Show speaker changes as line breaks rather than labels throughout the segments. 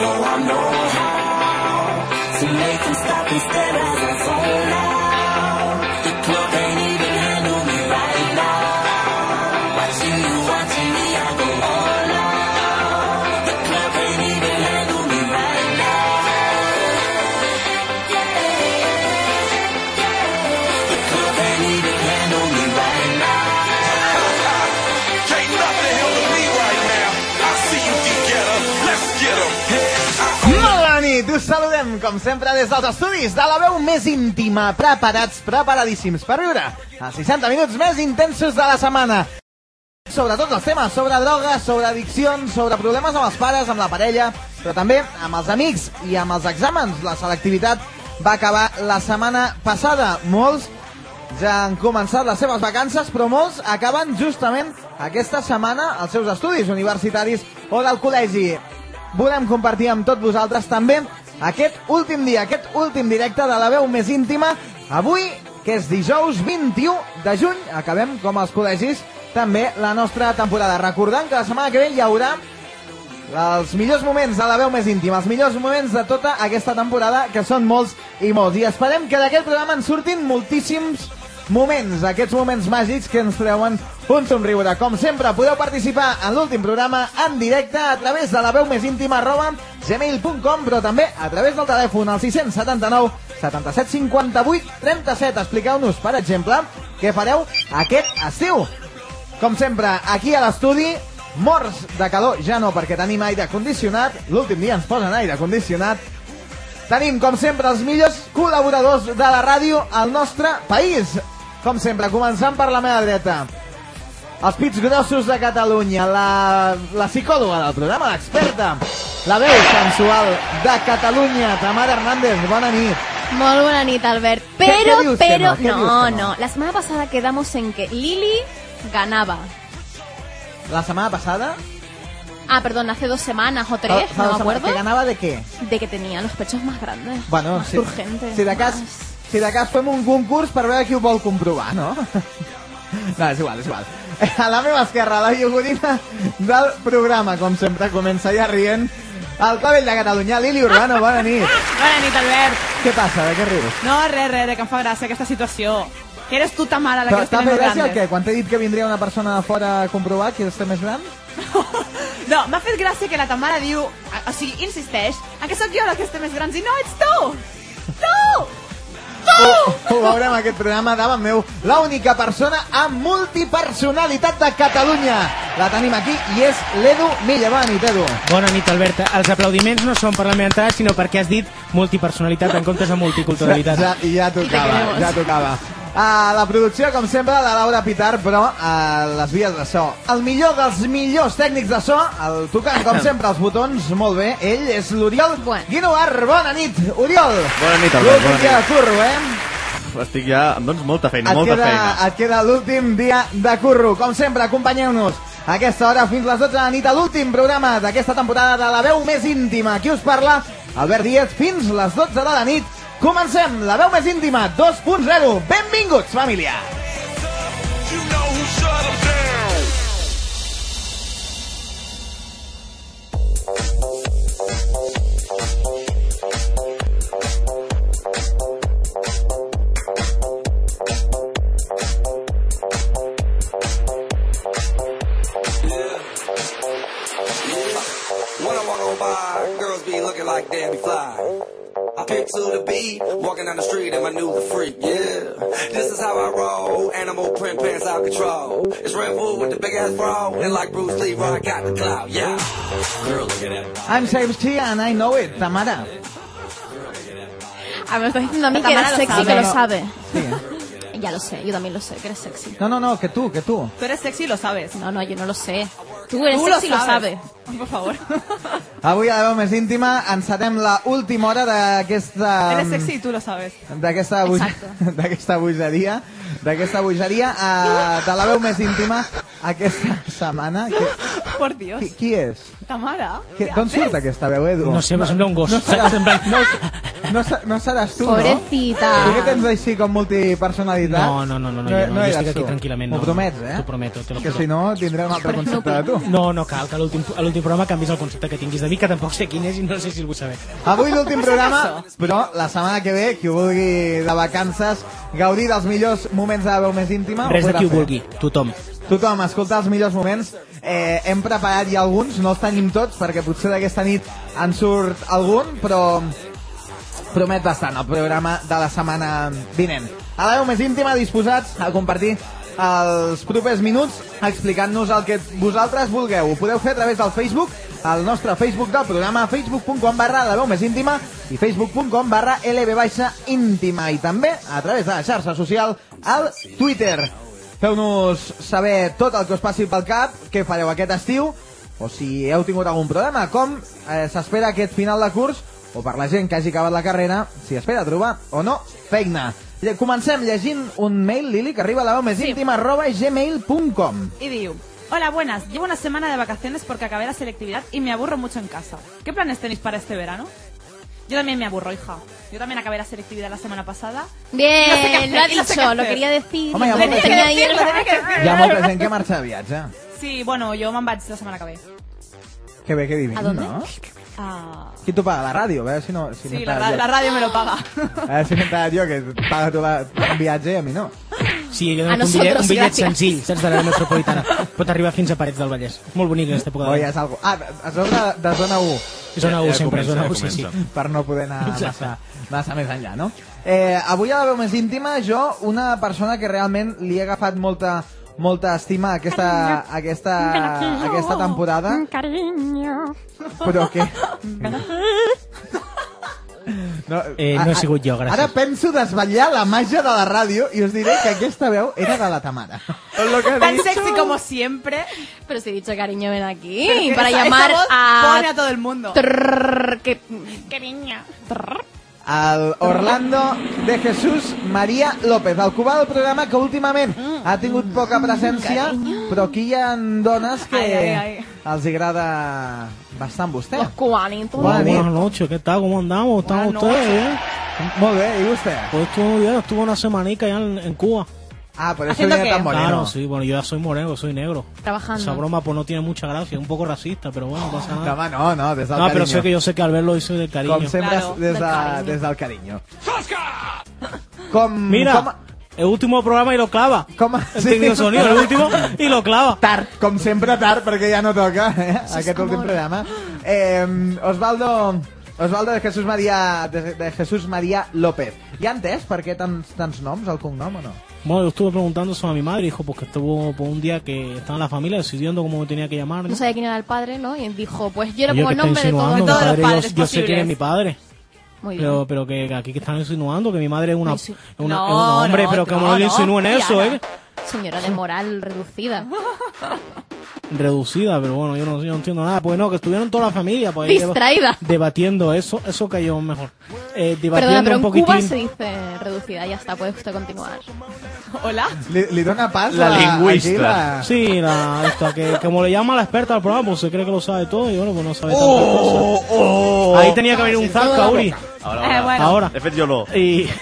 know I know how to make them stop and stare as I fall out. The club ain't even handle me right now. Watching you, watching me, I go all out. The club ain't even handle me right now. The club ain't even handle me right now.
Can't nothing handle me right now. I see you can get 'em. Let's get 'em.
Molt bona nit! Us saludem, com sempre, des dels estudis de la veu més íntima, preparats, preparadíssims per viure els 60 minuts més intensos de la setmana. Sobre tots els temes, sobre drogues, sobre addiccions, sobre problemes amb els pares, amb la parella, però també amb els amics i amb els exàmens. La selectivitat va acabar la setmana passada. Molts ja han començat les seves vacances, però molts acaben justament aquesta setmana els seus estudis universitaris o del col·legi. Volem compartir amb tots vosaltres també aquest últim dia, aquest últim directe de la veu més íntima, avui, que és dijous 21 de juny, acabem com els col·legis, també la nostra temporada. Recordant que la setmana que ve hi haurà els millors moments de la veu més íntima, els millors moments de tota aquesta temporada, que són molts i molts. I esperem que d'aquest programa en surtin moltíssims moments, aquests moments màgics que ens treuen un somriure. Com sempre, podeu participar en l'últim programa en directe a través de la veu més íntima arroba gmail.com, però també a través del telèfon al 679 77 58 37. Expliqueu-nos, per exemple, què fareu aquest estiu. Com sempre, aquí a l'estudi, morts de calor, ja no perquè tenim aire condicionat, l'últim dia ens posen aire condicionat, tenim, com sempre, els millors col·laboradors de la ràdio al nostre país. Com sempre, començant per la meva dreta. Els pits grossos de Catalunya, la, la psicòloga del programa, l'experta, la veu sensual de Catalunya, Tamara Hernández, bona nit.
Molt bona nit, Albert.
¿Qué-
Pero,
qué dius que
pero,
no? ¿Qué dius
no,
que no?
no. La semana pasada quedamos en que Lili ganaba.
La setmana passada...
Ah, perdón, hace dos semanas
Ah,
o tres,
fa
no
dos
me
setmanes,
acuerdo.
Que ganava de què?
De que tenía los pechos más grandes.
Bueno,
más
si,
turgentes,
si de cas,
más-
si de cas fem un concurs per veure qui ho vol comprovar, no? No, és igual, és igual. A la meva esquerra, la iogurina del programa, com sempre, comença ja rient. El cabell de Catalunya, Lili Urbano, bona nit.
Bona nit, Albert.
Què passa? De què rius?
No, res, res, res, que em fa gràcia aquesta situació. Que eres tu tan mala la que
Però
les
t'ha
tenen
fet
més
gràcia el què?
grandes.
Quan t'he dit que vindria una persona de fora a comprovar qui els té més gran?
No, m'ha fet gràcia que la Tamara diu... O sigui, insisteix en que sóc jo la que estem més grans i no, ets tu! Tu!
Ho, ho veurem en aquest programa davant meu. L'única persona amb multipersonalitat de Catalunya. La tenim aquí i és l'Edu Milla. Bona nit, Edu.
Bona nit, Albert. Els aplaudiments no són per la meva entrada, sinó perquè has dit multipersonalitat en comptes de multiculturalitat.
Ja, ja tocava,
queremos.
ja tocava. A la producció, com sempre, la Laura Pitar, però a les vies de so. El millor dels millors tècnics de so, el tocant, com sempre, els botons, molt bé. Ell és l'Oriol
Bueno.
Guinoar. Bona nit, Oriol.
Bona nit, Albert, bona
L'últim dia de curro, eh?
Estic ja... Em dones molta feina,
Et
molta
queda,
feina.
et queda l'últim dia de curro. Com sempre, acompanyeu-nos a aquesta hora fins les 12 de la nit a l'últim programa d'aquesta temporada de La veu més íntima. Aquí us parla Albert Díez fins les 12 de la nit. Comencem La veu més íntima 2.0. Benvinguts, família!
You know who shut 'em down.
When I walk on by, girls be looking like Debbie Fly. I pick to the beat, walking down the street and I knew the freak, yeah. This is how I roll, animal print pants out control. It's Red Bull with the big ass bra, and like Bruce Lee, I got the clout, yeah. Girl, look at that.
I'm safety and I know it, Tamara.
Ah, me está diciendo a mí
La
que eres
Tamara lo
sexy,
sabe.
que lo
No, no.
sabe.
Sí.
Ya lo sé, yo también lo sé, que eres sexy.
No, no, no, que tu, que tu.
Tu eres sexy i lo sabes.
No, no, yo no lo sé. Tú eres
Tú lo
sexy y lo
sabes.
sabes.
Por favor.
Avui a la veu més íntima encetem la última hora d'aquesta...
Eres sexy y tú lo sabes.
d'aquesta boj...
Exacte.
d'aquesta bogeria d'aquesta bogeria eh, de la veu més íntima aquesta setmana qui,
Por Dios.
qui, qui és?
Tamara.
Qui,
¿qué
d'on
haces?
surt aquesta veu, Edu?
No sé, em sembla un gos.
no, serà,
Saps? En plan-
no, no, se- no seràs tu,
Pobrecita.
no? Tu que tens així com multipersonalitat?
No, no, no, no, no, jo no, jo
eres
estic aquí
tu.
tranquil·lament,
M'ho
no,
promets,
no,
eh?
t'ho prometo, te lo
que
juro.
si no tindré un altre concepte de tu.
No, no cal, que a l'últim a l'últim programa canvis el concepte que tinguis de mi, que tampoc sé quin és i no sé si el vull saber.
Avui l'últim programa, però la setmana que ve, qui ho vulgui de vacances, gaudir dels millors moments de la veu més íntima...
Res de
podrà
qui ho
fer.
vulgui, tothom.
Tothom, escolta els millors moments. Eh, hem preparat ja alguns, no els tenim tots, perquè potser d'aquesta nit en surt algun, però promet bastant el programa de la setmana vinent. A la veu més íntima, disposats a compartir els propers minuts explicant-nos el que vosaltres vulgueu. Ho podeu fer a través del Facebook, al nostre Facebook del programa, facebook.com barra la veu més íntima i facebook.com barra lb baixa íntima i també a través de la xarxa social al Twitter. Feu-nos saber tot el que us passi pel cap, què fareu aquest estiu, o si heu tingut algun problema, com eh, s'espera aquest final de curs, o per la gent que hagi acabat la carrera, si espera trobar o no feina. Lle- Comencem llegint un mail, Lili, que arriba a la veu més
Sí.
íntima, arroba gmail.com.
Y digo, hola, buenas. Llevo una semana de vacaciones porque acabé la selectividad y me aburro mucho en casa. ¿Qué planes tenéis para este verano? Yo también me aburro, hija. Yo también acabé la selectividad la semana pasada.
Bien,
No sé qué hacer,
lo ha
no sé qué
dicho, lo
hacer.
quería decir.
Home, ya
lo
hemos
tenía
decidido.
ahí en la-
Hi ha molta gent que marxa de viatge.
Sí, bueno, yo me'n vaig la semana que ve.
Que bé, que divin,
¿A dónde?
no?
Ah,
Qui t'ho paga? La ràdio, a veure si no... Si
sí,
m'he
la,
enterat
ra-
jo.
la radio me lo paga.
A veure si m'he enterat jo, que et paga tu la, un viatge i a mi no.
Sí, jo he
A
donat un bitllet,
nosotros,
un bitllet
gracias.
senzill, saps, de l'àrea metropolitana. Pot arribar fins a Parets del Vallès. Molt bonic, aquesta època
O
de
ja
l'any.
és algo. Ah, a sobre de zona 1.
Zona
Ja-
1,
ja
sempre,
comença,
zona
ja
1, sí, sí.
comença.
per no poder anar
Exacte.
massa, massa més enllà, no? Eh, avui a la veu més íntima, jo, una persona que realment li he agafat molta, molta estima a aquesta, a aquesta, a aquesta temporada,
Cariño.
però que... No,
Eh, no he sigut jo, gràcies.
Ara penso desvetllar la màgia de la ràdio i us diré que aquesta veu era de la Tamara. Lo que
Tan sexy como siempre.
Pero si he dicho cariño, ven aquí.
Pero que
para
esa- esa
llamar
voz
a...
Pone a todo el mundo.
Trrr, que... Cariño.
el Orlando de Jesús María López, el cubà del programa que últimament ha tingut poca presència, però aquí hi ha dones que
Ai, ai, ai.
els agrada bastant vostè.
Los cubanitos.
Buenas
Buenas
noches.
noches, ¿qué tal? ¿Cómo andamos? ¿Están
Buenas
ustedes bien?
Molt bé, i vostè?
eh? Pues estuve muy bien, estuve una semanica allá en, en Cuba.
Ah, por eso
¿Haciendo
viene
qué?
tan moreno.
Claro, sí, bueno, yo ya soy moreno, soy negro.
Trabajando.
Esa broma pues no tiene mucha gracia, es un poco racista, pero bueno, no pasa
No,
nada.
home, no, no, des del
No,
carinyo.
pero sé que yo sé que Albert lo hizo de cariño.
Com sempre,
Claro,
des, de,
del carinyo.
des del carinyo. Com... Com,
Mira, el último programa y lo clava.
¿Cómo?
El
Sí.
técnico de sonido, el último, y lo
Oh.
clava.
tard, com sempre tard, perquè ja no toca eh? aquest últim programa. Eh, Osvaldo... Osvaldo de Jesús María, de, de Jesús María López. Ja ha entès per què tants, tants noms, el cognom o no?
Bueno, yo estuve preguntando eso a mi madre, dijo, porque estuvo por un día que estaba en la familia decidiendo cómo me tenía que llamar. ¿no?
No sabía quién era el padre, ¿no? Y dijo, pues yo le
Oye,
pongo
que
el
está
nombre de todos, de
insinuando, mi
todos los
padre,
padres.
yo, yo sé quién es
posibles.
mi padre.
Muy bien.
Pero, pero que aquí que están insinuando que mi madre es una,
Sí, sí.
una-
No,
es un hombre,
no,
pero que
no,
no le
no,
insinúen eso,
Diana.
¿eh?
Señora de moral reducida.
Reducida, pero bueno, yo no, yo no entiendo nada. Pues no, que estuvieron toda la familia pues, ahí deba-
Distraída.
debatiendo eso, eso cayó mejor. Eh, debatiendo
Perdona, pero
un
en Cuba se
poquitín.
dice reducida. Ya está, puede usted continuar.
Hola.
Li, li dona pas
La
a-
lingüista.
aquí la-
Sí, la, esta, que como le llama la experta al programa, pues se cree que lo sabe todo y bueno, pues no sabe tantas
Oh, oh.
cosas. Ahí tenía que haber un zanca, Uri.
Ahora,
Eh,
ahora.
bueno.
Ahora.
He fet jo lo.
Y.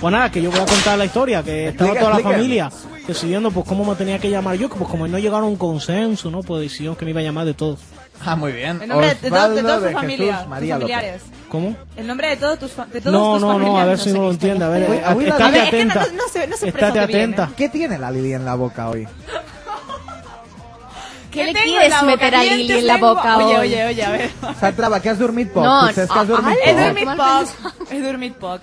Pues nada, que yo voy a contar la historia, que estaba
Explica,
toda la
explica.
familia decidiendo pues cómo me tenía que llamar yo, que pues como no llegaron a un consenso, ¿no? Pues decidieron que me iba a llamar de todos.
Ah, muy bien.
El nombre de, de todos- de
Osvaldo
todos tus
Jesús
familias, tus
María López.
familiares.
¿Cómo?
El nombre de todos tus, fa- de todos
No,
tus
no, no, a ver
familiares.
si no lo entiende, a ver,
Uy,
a-
uy, la-
estate
A
ver, es que no-
atenta.
no se- no se expresa
Estate
que viene.
atenta.
¿Qué tiene la Lili en la boca hoy?
¿Qué le
tengo en
quieres
la boca?
meter a
Dientes,
Lili en la
lengua.
boca
Oye,
hoy?
oye, oye, a ver.
Satrava, que has dormit poc.
No,
Potser és que has
ah,
dormit
ah,
He
Oh.
poc.
dormit
Mal
poc. He dormit poc.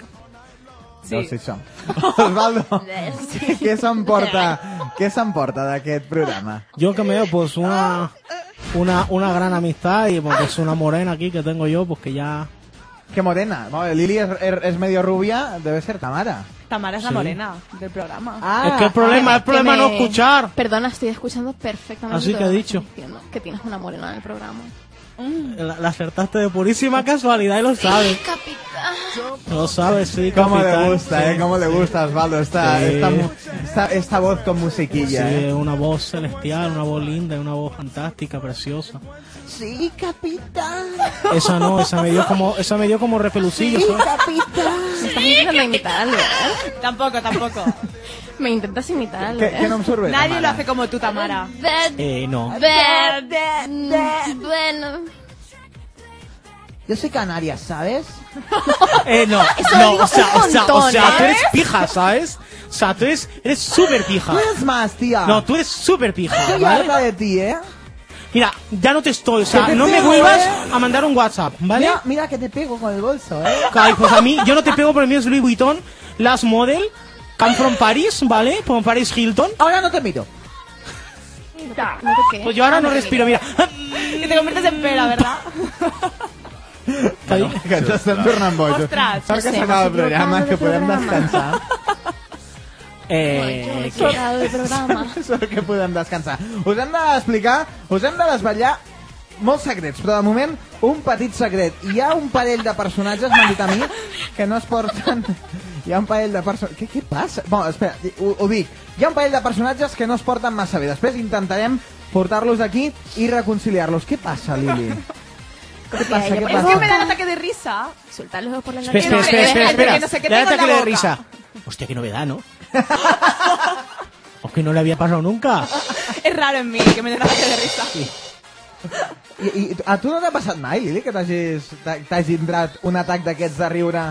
Sí.
No, sí, això. Osvaldo, què- què s'emporta què s'emporta d'aquest programa?
Yo que me veo pues
Ah, eh.
una, una, una gran amistad y pues, pues, una morena aquí que tengo yo, pues que ya
que morena. Bueno, Lili es, er, es- es medio rubia, debe ser Tamara.
Tamara es la morena del programa.
Ah,
es que el problema, el problema
Que
no
me-
escuchar.
Perdona, estoy escuchando perfectamente.
Así
todo
que ha
lo
dicho.
estás diciendo, que tienes una morena en el programa.
La, la acertaste de purísima casualidad y lo sabes.
Capitán.
Lo sabes, sí,
Cómo
capitán,
le gusta,
sí.
eh, cómo le gusta Osvaldo esta,
Sí.
esta, mu- esta- esta voz con musiquilla.
Sí,
eh.
una voz celestial, una voz linda, una voz fantástica, preciosa.
Sí, capitán.
Esa no, esa me dio como, esa me dio como repelucillo. ¿sabes?
Me estás intentando imitar a Albert. ¿eh?
Tampoco, tampoco.
Me intentas imitar a
¿Qué,
Albert.
qué no em surt bé,
Nadie
Tamara?
lo hace como tú, Tamara.
Verde,
Eh, no.
verde, mm, bueno.
Yo soy canaria, ¿sabes?
Eh, no.
Ah,
Eso
no,
lo digo
o sea,
un
o sea, o
montón,
sea, tú
¿eh?
eres pija, ¿sabes? O sea, tú eres, eres súper pija.
Tú eres más, tía.
Ah. No, tú eres súper pija,
Estoy
¿vale?
harta de ti, ¿eh?
Mira, ya no te estoy, o sea,
Que te
no me
pego,
vuelvas
¿eh?
a mandar un WhatsApp, ¿vale?
Mira, mira que te pego con el bolso, ¿eh?
Ay, pues a mí, yo no te pego por el mío es Louis Vuitton, Last Model, Come from Paris, ¿vale? From Paris Hilton.
Ahora no te miro.
No te quejes.
Pues yo ahora no respiro, mira.
Que te conviertes en pera, ¿verdad?
Bueno,
Que ens estem tornant bojos.
Ostres,
Sort que
no sé,
s'acaba el
m'estic
programa,
equivocant
que
de
podem
programa.
descansar.
Yo me
Eh,
he quedado del programa.
Sort que podem descansar. Us hem d'explicar, us hem de desvetllar molts secrets, però de moment un petit secret. Hi ha un parell de personatges, m'han dit a mi, que no es porten... Hi ha un parell de personatges... Què, què passa? Bon, espera, ho, ho dic. Hi ha un parell de personatges que no es porten massa bé. Després intentarem portar-los aquí i reconciliar-los. Què passa, Lili? Què passa, què
es que me
passa?
da un ataque de risa.
Soltar los ojos por la
espera,
nariz.
espera, espera, espera, espera.
que no sé qué
Le da
tengo en
ataque
la
de
boca.
risa. Hostia, qué novedad, ¿no? O que no le había pasado nunca.
Es raro en mí que me dé un ataque de risa.
I, i a tu no t'ha passat mai, Lili, que t'hagis t'a- t'hagi entrat un atac d'aquests de riure,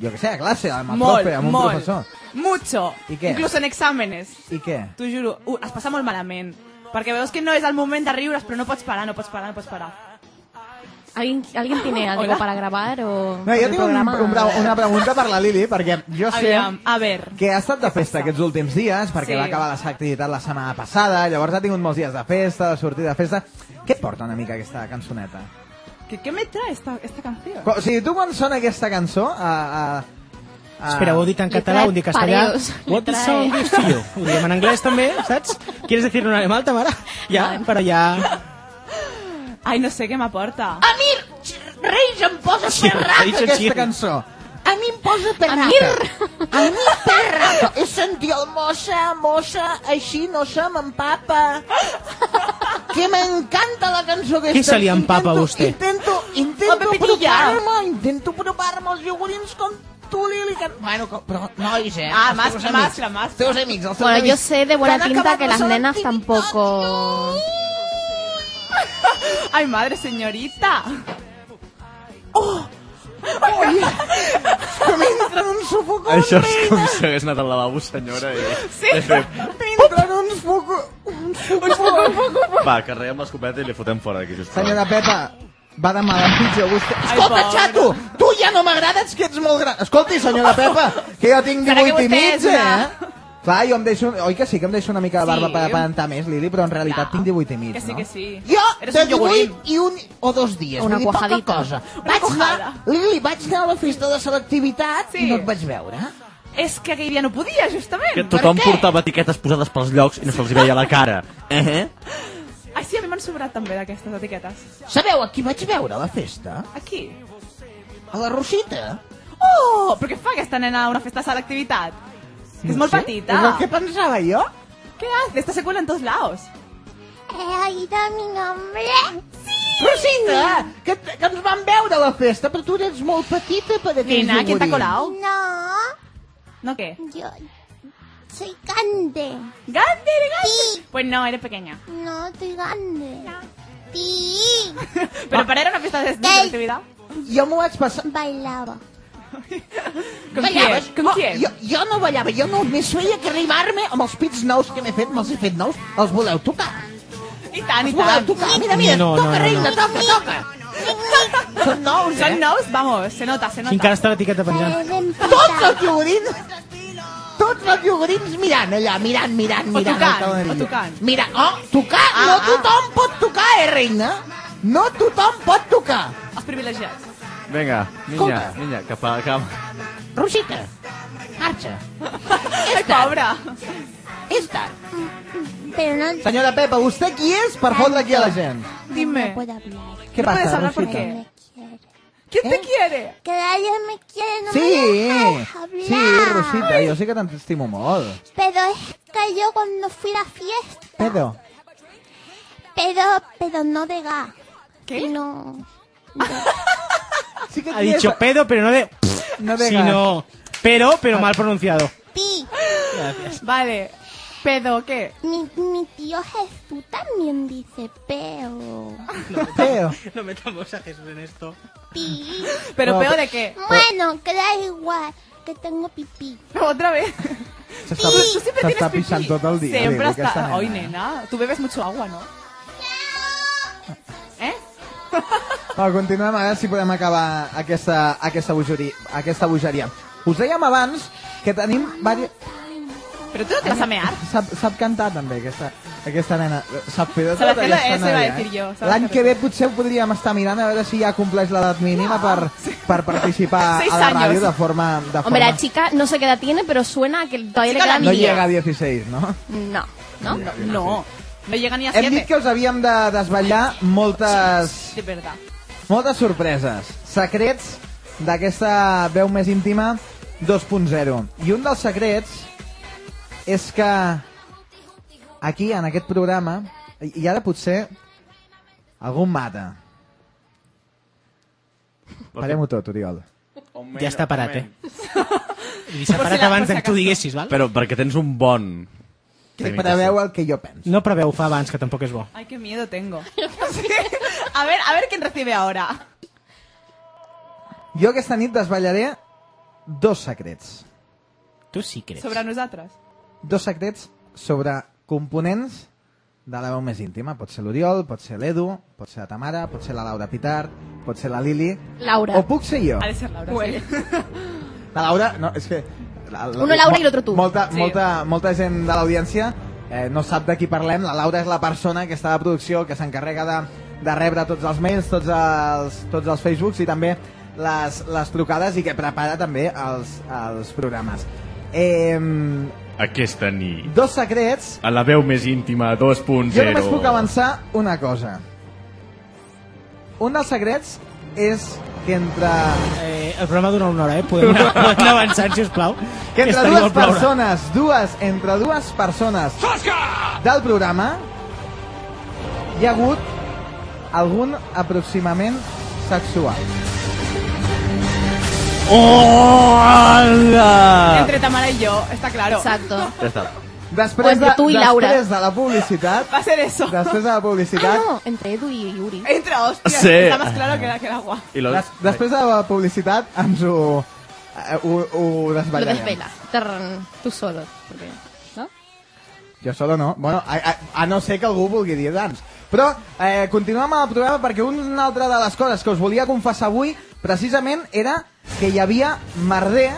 jo que sé, a classe, amb el
Mol,
profe, amb un
mol.
professor?
Mucho.
I què?
Incluso en exàmenes.
I què?
T'ho juro, uh, es passa molt malament. Perquè veus que no és el moment de riure's, però no pots parar, no pots parar, no pots parar.
¿Alguien, ¿Alguien tiene algo
Hola.
para grabar o
No, jo
el
tinc un,
programa?
un, brau- una pregunta per la Lili, perquè jo sé
Aviam, a ver.
que ha estat de festa aquests últims dies, perquè
Sí.
va acabar la seva activitat la setmana passada, llavors ha tingut molts dies de festa, de sortir de festa... Què et porta una mica aquesta cançoneta?
¿Qué, qué me trae esta, esta canción?
Qu- O sigui, tu quan sona aquesta cançó... A, a, a...
Espera, ho dic en
Le
català,
trae
ho dic castellà.
pareos, le
What the
trae-
sound gives to you? Ho diem en anglès també, saps? ¿Quieres decirlo en alemán, Tamara? Ya, para allá.
Ay, no sé qué me aporta.
Ah,
A mi, Reis, em posa
Ha
Ferrat.
dicho
Ah, Aquesta
chirri.
cançó.
A mi em posa Ferrat. A mi Ferrat. És sentir el mossa, mossa, així no se m'empapa. Que m'encanta la cançó aquesta.
Què se li empapa a
Intento-
vostè?
Intento, intento
Home, Pepilla.
provar-me, intento provar-me els iogurins com tu, Lili. Que... Bueno, com- però nois, eh?
Ah,
Els
más,
teus
más,
amics.
la más.
Teus amics, els teus
Bueno, yo
amics.
sé de buena
Que han
tinta
acabat
que
la
las
sola
nenas
activitat,
tampoco...
Ay, madre señorita.
Que m'entren uns sufocons,
Això és com si hagués anat al lavabo, senyora, i... Sí. Fet,
m'entren uns sufocons.
va, carreguem l'escopeta i li fotem fora d'aquí, sisplau.
Senyora Pepa, va de mal en pitjor. Vostè... Escolta,
pobre. Oh.
xato, tu ja no m'agrades que ets molt gran. Escolti, senyora Pepa, que jo tinc
Serà que
18 i
vostè
mig,
és una-
eh? Clar, jo em deixo... Oi que sí que em deixo una mica de barba
Sí.
per aparentar més, Lili, però en realitat tinc 18 i mig,
Que sí,
no?
que sí.
Jo,
Eres
de
un
18
yogurín.
i un o dos dies.
Una
vull dir, poca
cuajadita.
cosa.
Una
Vaig
cuajada.
anar, Lili, vaig anar a la festa de selectivitat
Sí.
i no et vaig veure.
És que aquell dia no podia, justament.
Que tothom
Per què?
portava etiquetes posades pels llocs i no se'ls hi veia la cara. Eh?
Ai, sí, a mi m'han sobrat també d'aquestes etiquetes.
Sabeu a qui vaig veure a la festa?
Aquí.
A la Rosita.
Oh, però què fa aquesta nena a una festa de selectivitat? Que és molt petita.
És el que pensava jo?
Què hace? Esta secuela en todos lados.
He oído mi nombre. Sí. Rosita, que, que ens vam veure a la festa, però tu eres molt petita per aquell
Nena, ¿quién te ha colado?
No,
¿No qué?
yo soy grande.
¡Grande, eres grande!
Sí.
Pues no, eres pequeña.
No, estoy grande. Sí,
Pero para ir a una fiesta de de selectividad.
Jo m'ho vaig passar...
bailaba.
¿Con quién?
pues,
¿Con quién?
Jo, jo no ballava, jo només feia que arribar-me amb els pits nous que m'he fet, me'ls he fet nous. Els voleu tocar?
I tant, i
Els voleu
tant.
tocar? Mira, mira,
No, no,
toca,
no, no.
reina, toca, toca. Són nous, eh?
Son nous, vamos, se nota, se
Sí,
nota.
encara està l'etiqueta penjant.
Pero ven
Tots
puta.
els llogarins... Tots els llogarins mirant allà, mirant, mirant,
O
mirant.
tocant,
la taula.
o tocant.
Mira, oh, tocar,
Ah,
no
ah.
tothom pot tocar, eh, reina? No tothom pot tocar.
Els privilegiats.
Vinga, niña,
Escolta.
niña, cap a cap.
Rosita, marxa.
És pobra.
És tard.
Pero no,
Senyora Pepa, ¿usted quién es para fotre aquí a la gent?
Dime. no puedo hablar.
¿Qué
No puedes
pasa,
hablar
Rosita?
porque-
Me quiere.
¿Quién te quiere?
Que nadie me quiere, no me
Sí,
dejas hablar.
sí, Rosita, jo sé que t'estimo molt.
Pero es que yo cuando fui a la fiesta,
Però,
pero, pero no de ga.
¿Qué?
No.
sí que
Ha
quiere-
dicho pedo, pero no de...
no de
sino... Pero, pero mal pronunciado.
Pi.
Vale. ¿Pedo qué?
Mi, mi tío Jesús también dice peo.
Pero,
No metamos a Jesús en esto.
Pi.
¿Pero
No,
peo
pe-
de qué?
Bueno, que da igual, que tengo pipí.
¿Otra vez?
s'està
Tú siempre
s'està
tienes pipí.
pixant tot el dia. diu,
Siempre
aquesta
hasta...
nena.
Hoy, nena, tú bebes mucho agua, ¿no? ¿Eh?
Va, continuem, a veure si podem acabar aquesta, aquesta, bogeria, aquesta bogeria. Us dèiem abans que tenim... Vari...
¿Pero tú no te vas a mear?
Sap, sap cantar també aquesta, aquesta nena. Sap fer de tot
Sabe hacerlo,
aquesta
eso iba a
noia,
decir
eh?
yo. Sabe
L'any
hacerlo.
que ve potser ho podríem estar mirant a veure si ja compleix l'edat mínima per, per participar
Seis
a la
años.
ràdio de forma... De
Hombre,
forma...
la chica no sé qué edad tiene, pero suena a que todavía le
chica
quedan
no
días.
llega a 16, no?
No, ¿no?
No, no, no llega ni a
Hem dit
siete.
que us havíem de desvetllar moltes,
De verdad.
moltes sorpreses, secrets d'aquesta veu més íntima 2.0. I un dels secrets és que aquí, en aquest programa, i i ara potser algú em mata. Parem-ho tot, Oriol.
Ja està parat, eh? I s'ha parat abans de que tu diguessis,
eh?
val?
Però perquè tens un bon...
Que preveu el que jo penso.
No preveu, fa abans, que tampoc és bo.
Ay, qué miedo tengo. Sí. A ver, a ver quién recibe ahora.
Jo aquesta nit desvetllaré dos secrets.
Tu sí creus.
Sobre nosotras.
Dos secrets sobre components de la veu més íntima. Pot ser l'Oriol, pot ser l'Edu, pot ser la Tamara, pot ser la Laura Pitar, pot ser la Lili...
Laura.
O puc ser jo.
Ha de ser Laura. sí.
La Laura, no, és que... La, la,
Uno Laura
mo-
i l'altre tu.
Molta,
Sí.
molta, molta gent de l'audiència eh, no sap de qui parlem. La Laura és la persona que està a la producció, que s'encarrega de, de rebre tots els mails, tots els, tots els Facebooks i també les, les trucades i que prepara també els, els programes. Eh,
Aquesta nit.
dos secrets.
A la veu més íntima 2.0.
Jo només puc avançar una cosa. Un dels secrets és que entre
Eh, el programa dura una hora, eh? Podem anar, podem anar avançant, sisplau.
que entre
Estaré
dues
molt ploure.
persones, dues, entre dues persones del programa hi ha hagut algun aproximament sexual.
Hola!
Entre Tamara y yo, está claro.
Exacto.
Ja està.
Després,
O entre tu i
de,
Laura.
després de la publicitat,
Va a ser eso.
després de la
Ah,
publicitat,
no, entre Edu y Yuri.
Entra, hostia.
Sí.
Está más claro que, que el agua.
I lo...
des, després de la publicitat ens ho, eh, ho, ho
Lo
desvetllarem.
desvela. Tarrán, Tú solo. porque- ¿No?
Jo solo no. Bueno, a, a, a no ser que algú vulgui dir abans. Però eh, continuem amb el programa perquè una altra de les coses que us volia confessar avui precisament era que hi havia merder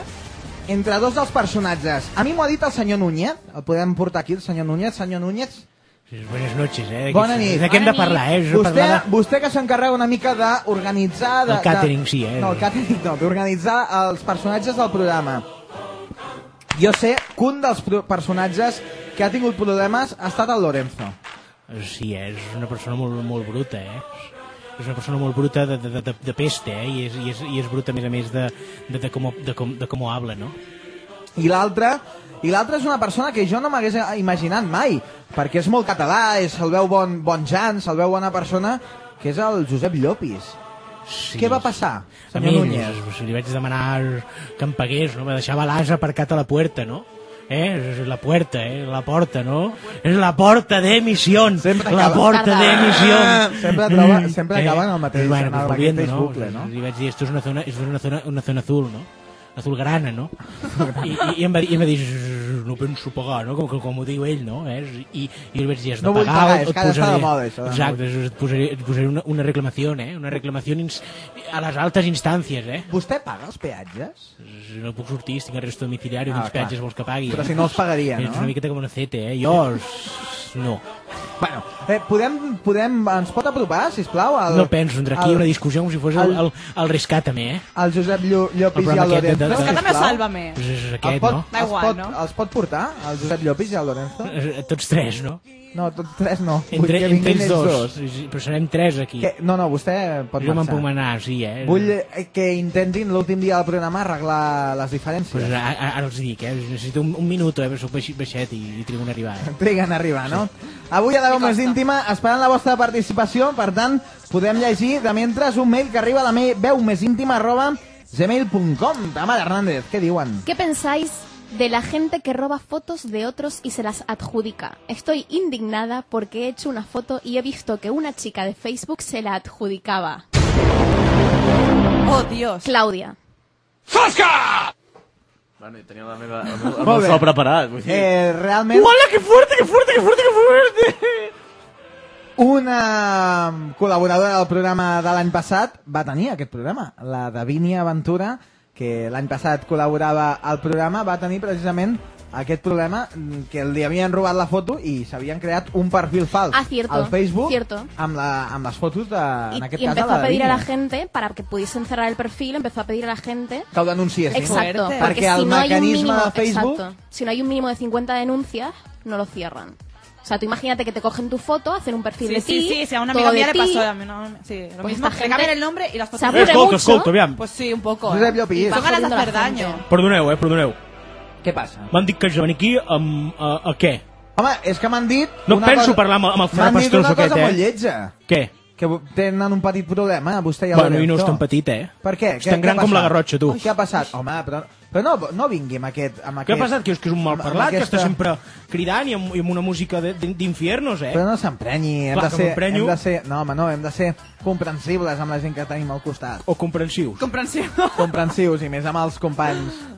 entre dos dels personatges. A mi m'ho ha dit el senyor Núñez. El podem portar aquí, el senyor Núñez. Senyor Núñez,
Sí, Buenas noches, eh?
Bona nit.
De què hem de
Bona nit.
parlar, eh? Us he
vostè,
parlat de-
vostè que s'encarrega una mica d'organitzar... de-
El càtering,
de-
sí, eh?
No, el càtering no, d'organitzar els personatges del programa. Jo sé que un dels pro- personatges que ha tingut problemes ha estat el Lorenzo.
Sí, eh, és una persona molt, molt bruta, eh? És una persona molt bruta de, de, de, de peste, eh? I és, i, és, I és bruta, a més a més, de, de, de, com, de, com, de com ho habla, no?
I l'altre i l'altre és una persona que jo no m'hagués imaginat mai, perquè és molt català, és, el veu bon, bon Jan, se'l veu bona persona, que és el Josep Llopis.
Sí.
Sí. Què va passar,
A
senyor
mi
Núñez?
doncs, li vaig demanar que em pagués, no? Me deixava l'as aparcat a la puerta, no? Eh? És la puerta, eh? La porta, no? És la porta de misión.
Sempre
la
acaba-
porta Mm. Eh, de
Ah,
misión.
sempre troba- sempre acaben al mateix- en el
volviendo,
mateix bucle, no?
Li vaig dir, esto es una zona, esto es una zona, una zona azul, no? azulgrana, no? I, i, i, em va dir, i em va dir, no penso pagar, no? Com, com, com ho diu ell, no? Eh? I, I jo li vaig dir, has de
No vull
pagar,
pagar,
o
és
et
que ara està de
posaré-
moda, això de
Exacte, et posaré, et posaré una, una reclamació, eh? Una reclamació ins- a les altes instàncies, eh?
Vostè paga els peatges?
No puc sortir, estic arresto domiciliari,
Ah,
ah, quins
clar.
peatges vols que pagui?
Però
eh?
si no els pagaria,
Ets
no?
una miqueta com una CT, eh? Jo... s- No.
Bueno, Eh, podem, podem, ens pot apropar, sisplau? Al,
No penso, entre aquí hi ha una discussió com si fos el, el, el rescatame, eh?
El Josep Llo- Llopis i el
programa aquest de-
Lorenzo.
de- de- Rescátame o
sisplau.
sálvame. Pues és aquest,
El pot,
no? Da
Els
igual,
pot,
no?
els pot portar, el Josep Llopis i el Lorenzo?
Eh, Tots tres, no?
No, tots tres no. Vull
Entre,
que
entre
vinguin
ells
ells
dos. Sí, sí, Però serem tres aquí.
Que, no, no, vostè pot
jo me'n
marxar.
puc anar, sí, eh?
Vull eh, que intentin l'últim dia del programa arreglar les diferències.
Pues ara, ara els dic, eh? Necessito un, un minut, eh? Perquè soc baixi- baixet i, i triguen a arribar. Eh?
Triguen a arribar, no? Avui a la veu més íntima, esperant la vostra participació, per tant, podem llegir de mentre un mail que arriba a la me veu més íntima arroba gmail.com. Tamara Hernández, què diuen?
¿Qué pensáis de la gente que roba fotos de otros y se las adjudica? Estoy indignada porque he hecho una foto y he visto que una chica de Facebook se la adjudicaba.
Oh, Dios.
Claudia.
Bueno, i tenia la meva, el meu, el
Molt
meu
bé.
so preparat. Vull dir...
Eh, realment... Uala, que fuerte, que fuerte, que fuerte, que fuerte! Una col·laboradora del programa de l'any passat va tenir aquest programa, la Davinia Ventura, que l'any passat col·laborava al programa, va tenir precisament aquest problema mm, que li havien robat la foto i s'havien creat un perfil fals
Ah, cierto,
al Facebook
cierto.
amb, la, amb les fotos de,
Y,
Ah, en aquest
y
cas, de
empezó
la
a pedir a la
Davinia.
gente, para que pudiesen cerrar el perfil, empezó a pedir a la gente
que ho denunciessin.
Exacto, porque
perquè
si
el
no hay un
mecanisme
mínimo,
de Facebook
exacto, si no hay un mínimo de 50 denuncias, no lo cierran. O sea, tú imagínate que te cogen tu foto, hacen un perfil de
Sí,
ti,
sí, sí, sí, a una
todo de
amiga mía le
ti.
pasó a mí, no, sí, lo
Pues
mismo,
esta
le
gente
cambian el nombre y las fotos.
se aburre
Escolta, mucho. escolta, aviam.
Pues sí, un poco.
Josep
eh.
Llopis.
Y Son ganas de hacer
Va jodiendo la
daño.
Perdoneu, eh? Perdoneu.
Què passa?
M'han dit que jo venir aquí amb... A, a què?
Home, és que m'han dit...
No
una
penso
cosa-
parlar amb, amb el
M'han dit
frapastroso
una
aquest,
cosa
eh?
molt lletja.
Què?
Que vo- tenen un petit problema, vostè i el
Bueno, i no
Lorenzo.
és tan petit, eh?
Per què?
És tan
Què-
gran
què ha
com la
passat?
Garrotxa, tu.
Què ha passat? Home, però, però no, no vingui amb aquest... Amb
Què
aquest...
ha passat? Que és que és un mal
amb- amb
parlat, que
aquesta-
està sempre cridant i amb, i amb una música de- d'in- d'infiernos, eh?
Però no s'emprenyi, hem,
Clar
de
que
ser,
m'emprenyo.
hem de ser... No, home, no, hem de ser comprensibles amb la gent que tenim al costat.
O comprensius.
Comprensión.
Comprensius, i més amb els companys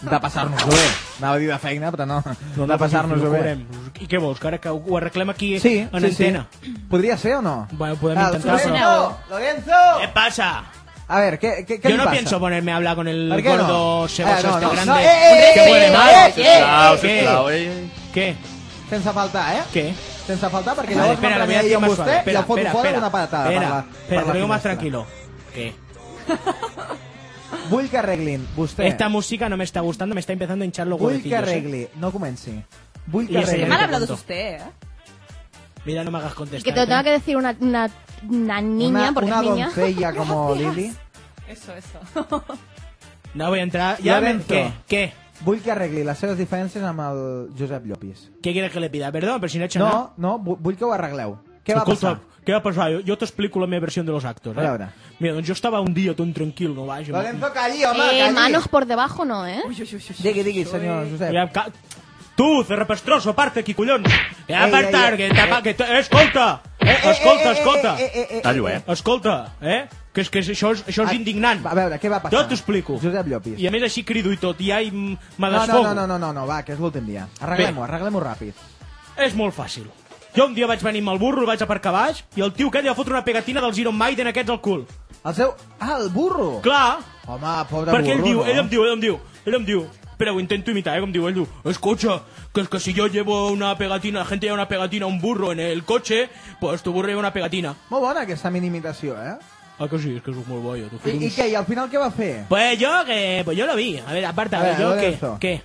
de passar-nos-ho bé. Anava a dir de feina, però no,
No, no,
de passar-nos-ho
no
bé.
cobrem. I què vols, que ara que ho ho arreglem aquí
Sí,
en
sí,
antena?
sí. Podria ser o no?
Bueno, podem
Ah,
intentar, però...
Lorenzo! Lorenzo!
Què passa?
A ver, ¿qué, qué, qué le
Yo no
pasa?
pienso ponerme a hablar con el
¿Por qué
gordo
no?
ceboso
Eh, no,
este
no.
grande
No, eh, eh,
que
eh,
huele
eh,
mal.
eh,
Sisplau,
¿Qué?
sisplau, eh?
¿Qué?
Sense faltar, eh?
¿Qué?
Sense faltar, perquè
Vale,
llavors
espera, la voy a
m'emprenyaré
decir
amb
más
vostè
suave.
i
Espera,
el foto
espera,
fora
espera.
d'una patada. per la-
Espera,
per
espera,
la
te digo más
finestra.
tranquilo. ¿Qué?
Vull que arreglin, vostè.
Esta música no me está gustando, me está empezando a hinchar los
Vull que
huevecillos. ¿eh?
arregli, no comenci. Vull que
I ese
Qué
arregli.
mal
te
hablados
cuento.
usted, eh.
Mira, no me hagas
Y
contestar. eh,
que te lo tenga que decir una, una, una niña,
una,
porque
una
es niña.
doncella como Lili.
Eso, eso.
No voy a entrar. Ya me...
Lorenzo.
¿Qué? ¿Qué?
Vull que arregli les seves diferències amb el Josep Llopis.
¿Qué quieres que le pida? Perdón, pero si no he hecho nada.
No, no, vu- vull que ho arregleu. Què va
Escolta,
passar?
què va passar? Jo, jo t'explico la meva versió dels actos. Eh?
A veure.
Mira, doncs jo estava un dia tot tranquil, no vaja.
Lorenzo, calli, home,
Eh,
calli.
manos por debajo no, ¿eh?
Digui, digui, senyor Josep.
Ja, ca... Tu, cerrapastroso, aparta aquí, collons! Ja,
Ei,
aparta,
ei,
que tapa... Que... Eh, escolta! Eh, escolta, escolta!
Eh, eh, eh, eh,
Tallo, eh?
Escolta, eh? Que és que és- això és, això és
Ah,
indignant.
A veure, què va passar?
Jo t'explico.
Josep Llopis.
I a més així crido i tot, i ai, m-
No,
me
no,
desfogo.
no, no, no, no, no, va, que és l'últim dia. Arreglem-ho, arreglem-ho ràpid.
És molt fàcil. Jo un dia vaig venir amb el burro, el vaig aparcar baix, i el tio aquest li va fotre una pegatina dels Iron Maiden aquests al cul.
El seu... Ah, el burro!
Clar,
Home, pobre
perquè
burro,
ell diu,
no?
ell em diu, ell em diu, ell em diu, però ho intento imitar, eh, com diu, ell diu, escucha, que es que si yo llevo una pegatina, la gente lleva una pegatina, un burro en el coche, pues tu burro lleva una pegatina.
Molt bona aquesta minimitació, eh?
Ah, que sí, és que sóc molt boia, tu
I,
foto
I què, i al final què va fer?
Pues yo, que, pues yo lo vi. A ver, aparta,
A ver,
yo, que,
Lorenzo.
que,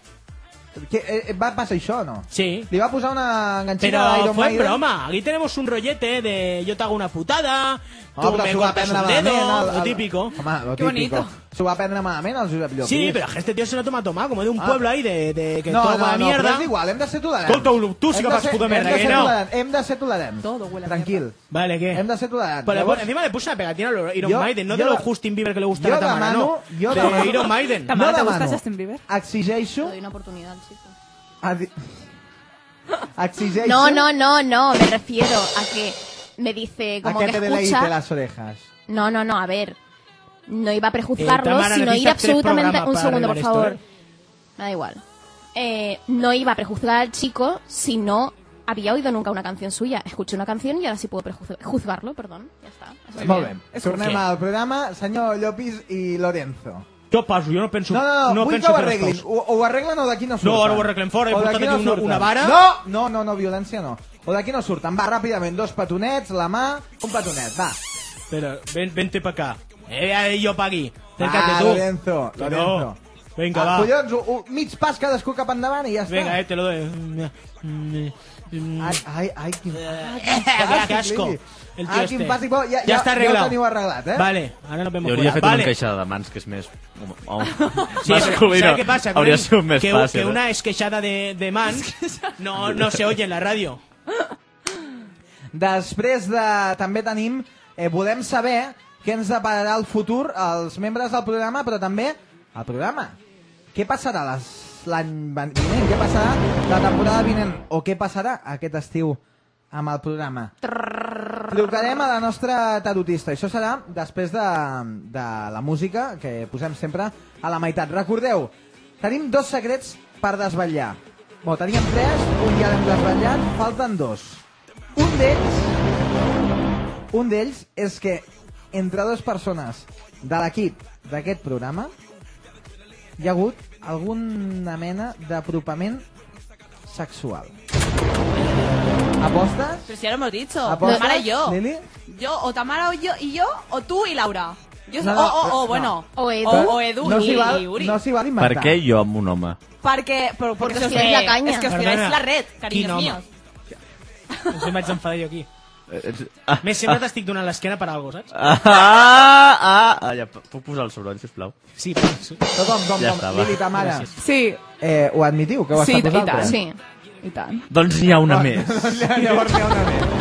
Que, eh, eh, va passar això o no?
sí.
Li va posar una enganxina a
Pero
Iron
fue en
Maiden?
broma. Aquí tenemos un rollete de yo te hago una
Ah,
putada, tú
Home, però
me
s'ho va
cortas
prendre
un
malament,
dedo,
el- el-
lo típico.
Home, lo
Qué
típico.
bonito.
S'ho va prendre malament el Josep Llopis.
Sí, pero es que este tío se lo toma a tomar, como de un
Ah.
pueblo ahí de, de que
No,
toma
no, no,
mierda.
però és igual, hem de ser tolerants.
Escolta, Ulu, tu sí
Hem
que
de
vas
ser-
puta merda,
hem de
que
ser
no? Eh.
tolerants, Hem de ser tolerants.
Todo huele a
Tranquil.
Vale, ¿qué?
Hem de ser tolerants.
Pero
Llavors-
bueno, encima le puse una pegatina a Iron
Yo-
Maiden, no
yo
de los
la-
Justin Bieber que le gusta
jo
a Tamara,
demano,
no.
jo
de
demano,
Iron Maiden.
Tamara,
no
¿te gusta
demano.
Justin Bieber?
Exigeixo...
Te doy una oportunidad, chico.
adi- Exigeixo...
No, no, no, no, me refiero a que me dice
A
como
que
que
te deleite
escucha...
las orejas.
No, no, no, a ver. No iba a
Eh,
prejuzgarlo,
Tamara,
sino ir
necesitas tres
absolutamente...
programas
Un
para
segundo, por
arreglar
favor.
esto, ¿eh?
Me da igual. Eh, no iba a prejuzgar al chico si no había oído nunca una canción suya. Escuché una canción y ahora sí puedo prejuzgarlo, perdón. Ya está.
Molt bé.
És
Tornem
que-
al programa, senyor Llopis i Lorenzo.
Jo passo, jo no penso...
No, no, no, vull
penso
que ho
fer les
arreglin.
coses.
O, o ho arreglen o d'aquí no surten.
ara ho arreglem fora, he
O
portat
d'aquí
aquí una-
surten.
una vara.
No, no, no, no, violència no. O d'aquí no surten. Va, ràpidament, dos petonets, la mà, un petonet, va.
Espera, ven, vente pa' acá. Eh, ahí yo pa' aquí. Acércate
Ah,
tú.
Lorenzo,
Que no.
Lorenzo.
Venga,
Ah,
va.
Collons, un, un, mig pas cadascú cap endavant i ja està.
Venga, eh, te lo doy.
Ai, ai, ai, quin, ai, quin
Ah, qué
fàstic,
asco.
Lili.
El tío
Ah,
este.
quin fàstic. Bueno, ja,
Ya está
Ja
arreglado.
ho teniu arreglat, eh?
Vale, ahora nos vemos.
Li hauria
fuera.
fet
vale.
una queixada de mans, que és més... Home,
Sí,
masculina.
pero, ¿sabes qué pasa? Que
Hauria
una-
sigut més
que,
fàcil. eh?
que una esqueixada de, de man no, no se oye en la radio.
Després de... També tenim... Eh, volem saber què ens depararà el futur als membres del programa, però també el programa. Què passarà les- l'any ven- vinent? Què passarà la temporada vinent? O què passarà aquest estiu amb el programa? Trucarem a la nostra tarotista. Això serà després de, de la música que posem sempre a la meitat. Recordeu, tenim dos secrets per desvetllar. Bé, teníem tres, un ja l'hem desvetllat, falten dos. Un d'ells... Un d'ells és que entre dues persones de l'equip d'aquest programa hi ha hagut alguna mena d'apropament sexual. Apostes?
Pero si ya lo hemos dicho.
Ah,
Apostes?
pues.
Tamara y yo.
Lili?
Yo, o Tamara o yo, y yo, o tú y Laura. Yo,
No,
o,
no,
eh,
o, o,
no.
bueno. O Edu.
Però
O, Edu
no
y,
s'hi val,
y Uri.
No s'hi val
Per
inventar.
què jo amb un home?
Porque, pero
Porque
porque, os
os tiráis la
tiráis-
caña.
Es que os
Perdona,
tiráis la red, cariños
quin home?
míos.
Ens hem enfadar jo aquí.
Ets- Ah,
Més sempre t'estic donant l'esquena per algo, saps?
Ah, ah, ah, ah, ja, puc posar el soroll, sisplau?
Sí, però... sí.
Tothom, com,
Ja
com,
està, va.
Lili, ta mare.
Gràcies.
Sí,
Eh, ho admitiu, que ho
sí,
està
i tant,
vosaltres?
sí. I tant.
Doncs n'hi ha una més.
Llavors hi ha una més.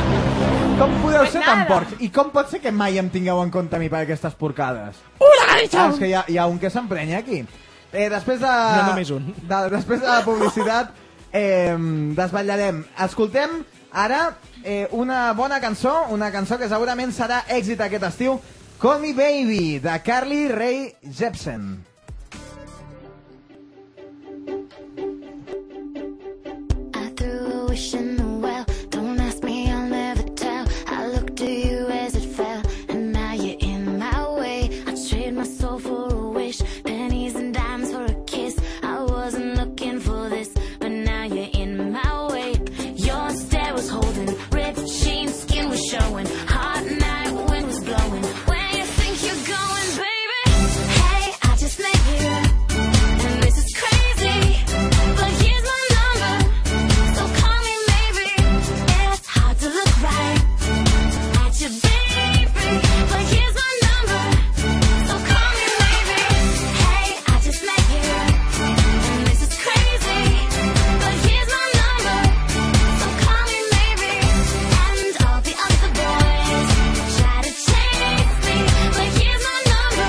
Com podeu ser tan
nada.
porcs? I com pot ser que mai em tingueu en compte a mi per aquestes porcades? Ah, és que hi ha, hi ha un que s'emprenya aquí. Eh, després de...
No, només un.
De, després de la publicitat, eh, desvetllarem. Escoltem ara eh, una bona cançó, una cançó que segurament serà èxit aquest estiu, Call Me Baby, de Carly Rae Jepsen.
I threw a wish in the well. Don't ask me, I'll never tell. I looked to you as it fell, and now you're in my way. I trade my soul for a wish, pennies and dimes for a kiss. I wasn't looking for this, but now you're in my way. Your stare was holding, ripped jeans, skin was showing. Hot night wind was blowing. Where you think you're going, baby? Hey, I just met you, and this is crazy, but here's my number. So call me maybe. It's hard to look right at you, baby. But here's my number. So call me maybe. Hey, I just met you, and this is crazy. But here's my number. So call me maybe. And all the other boys try to chase me, but here's my number.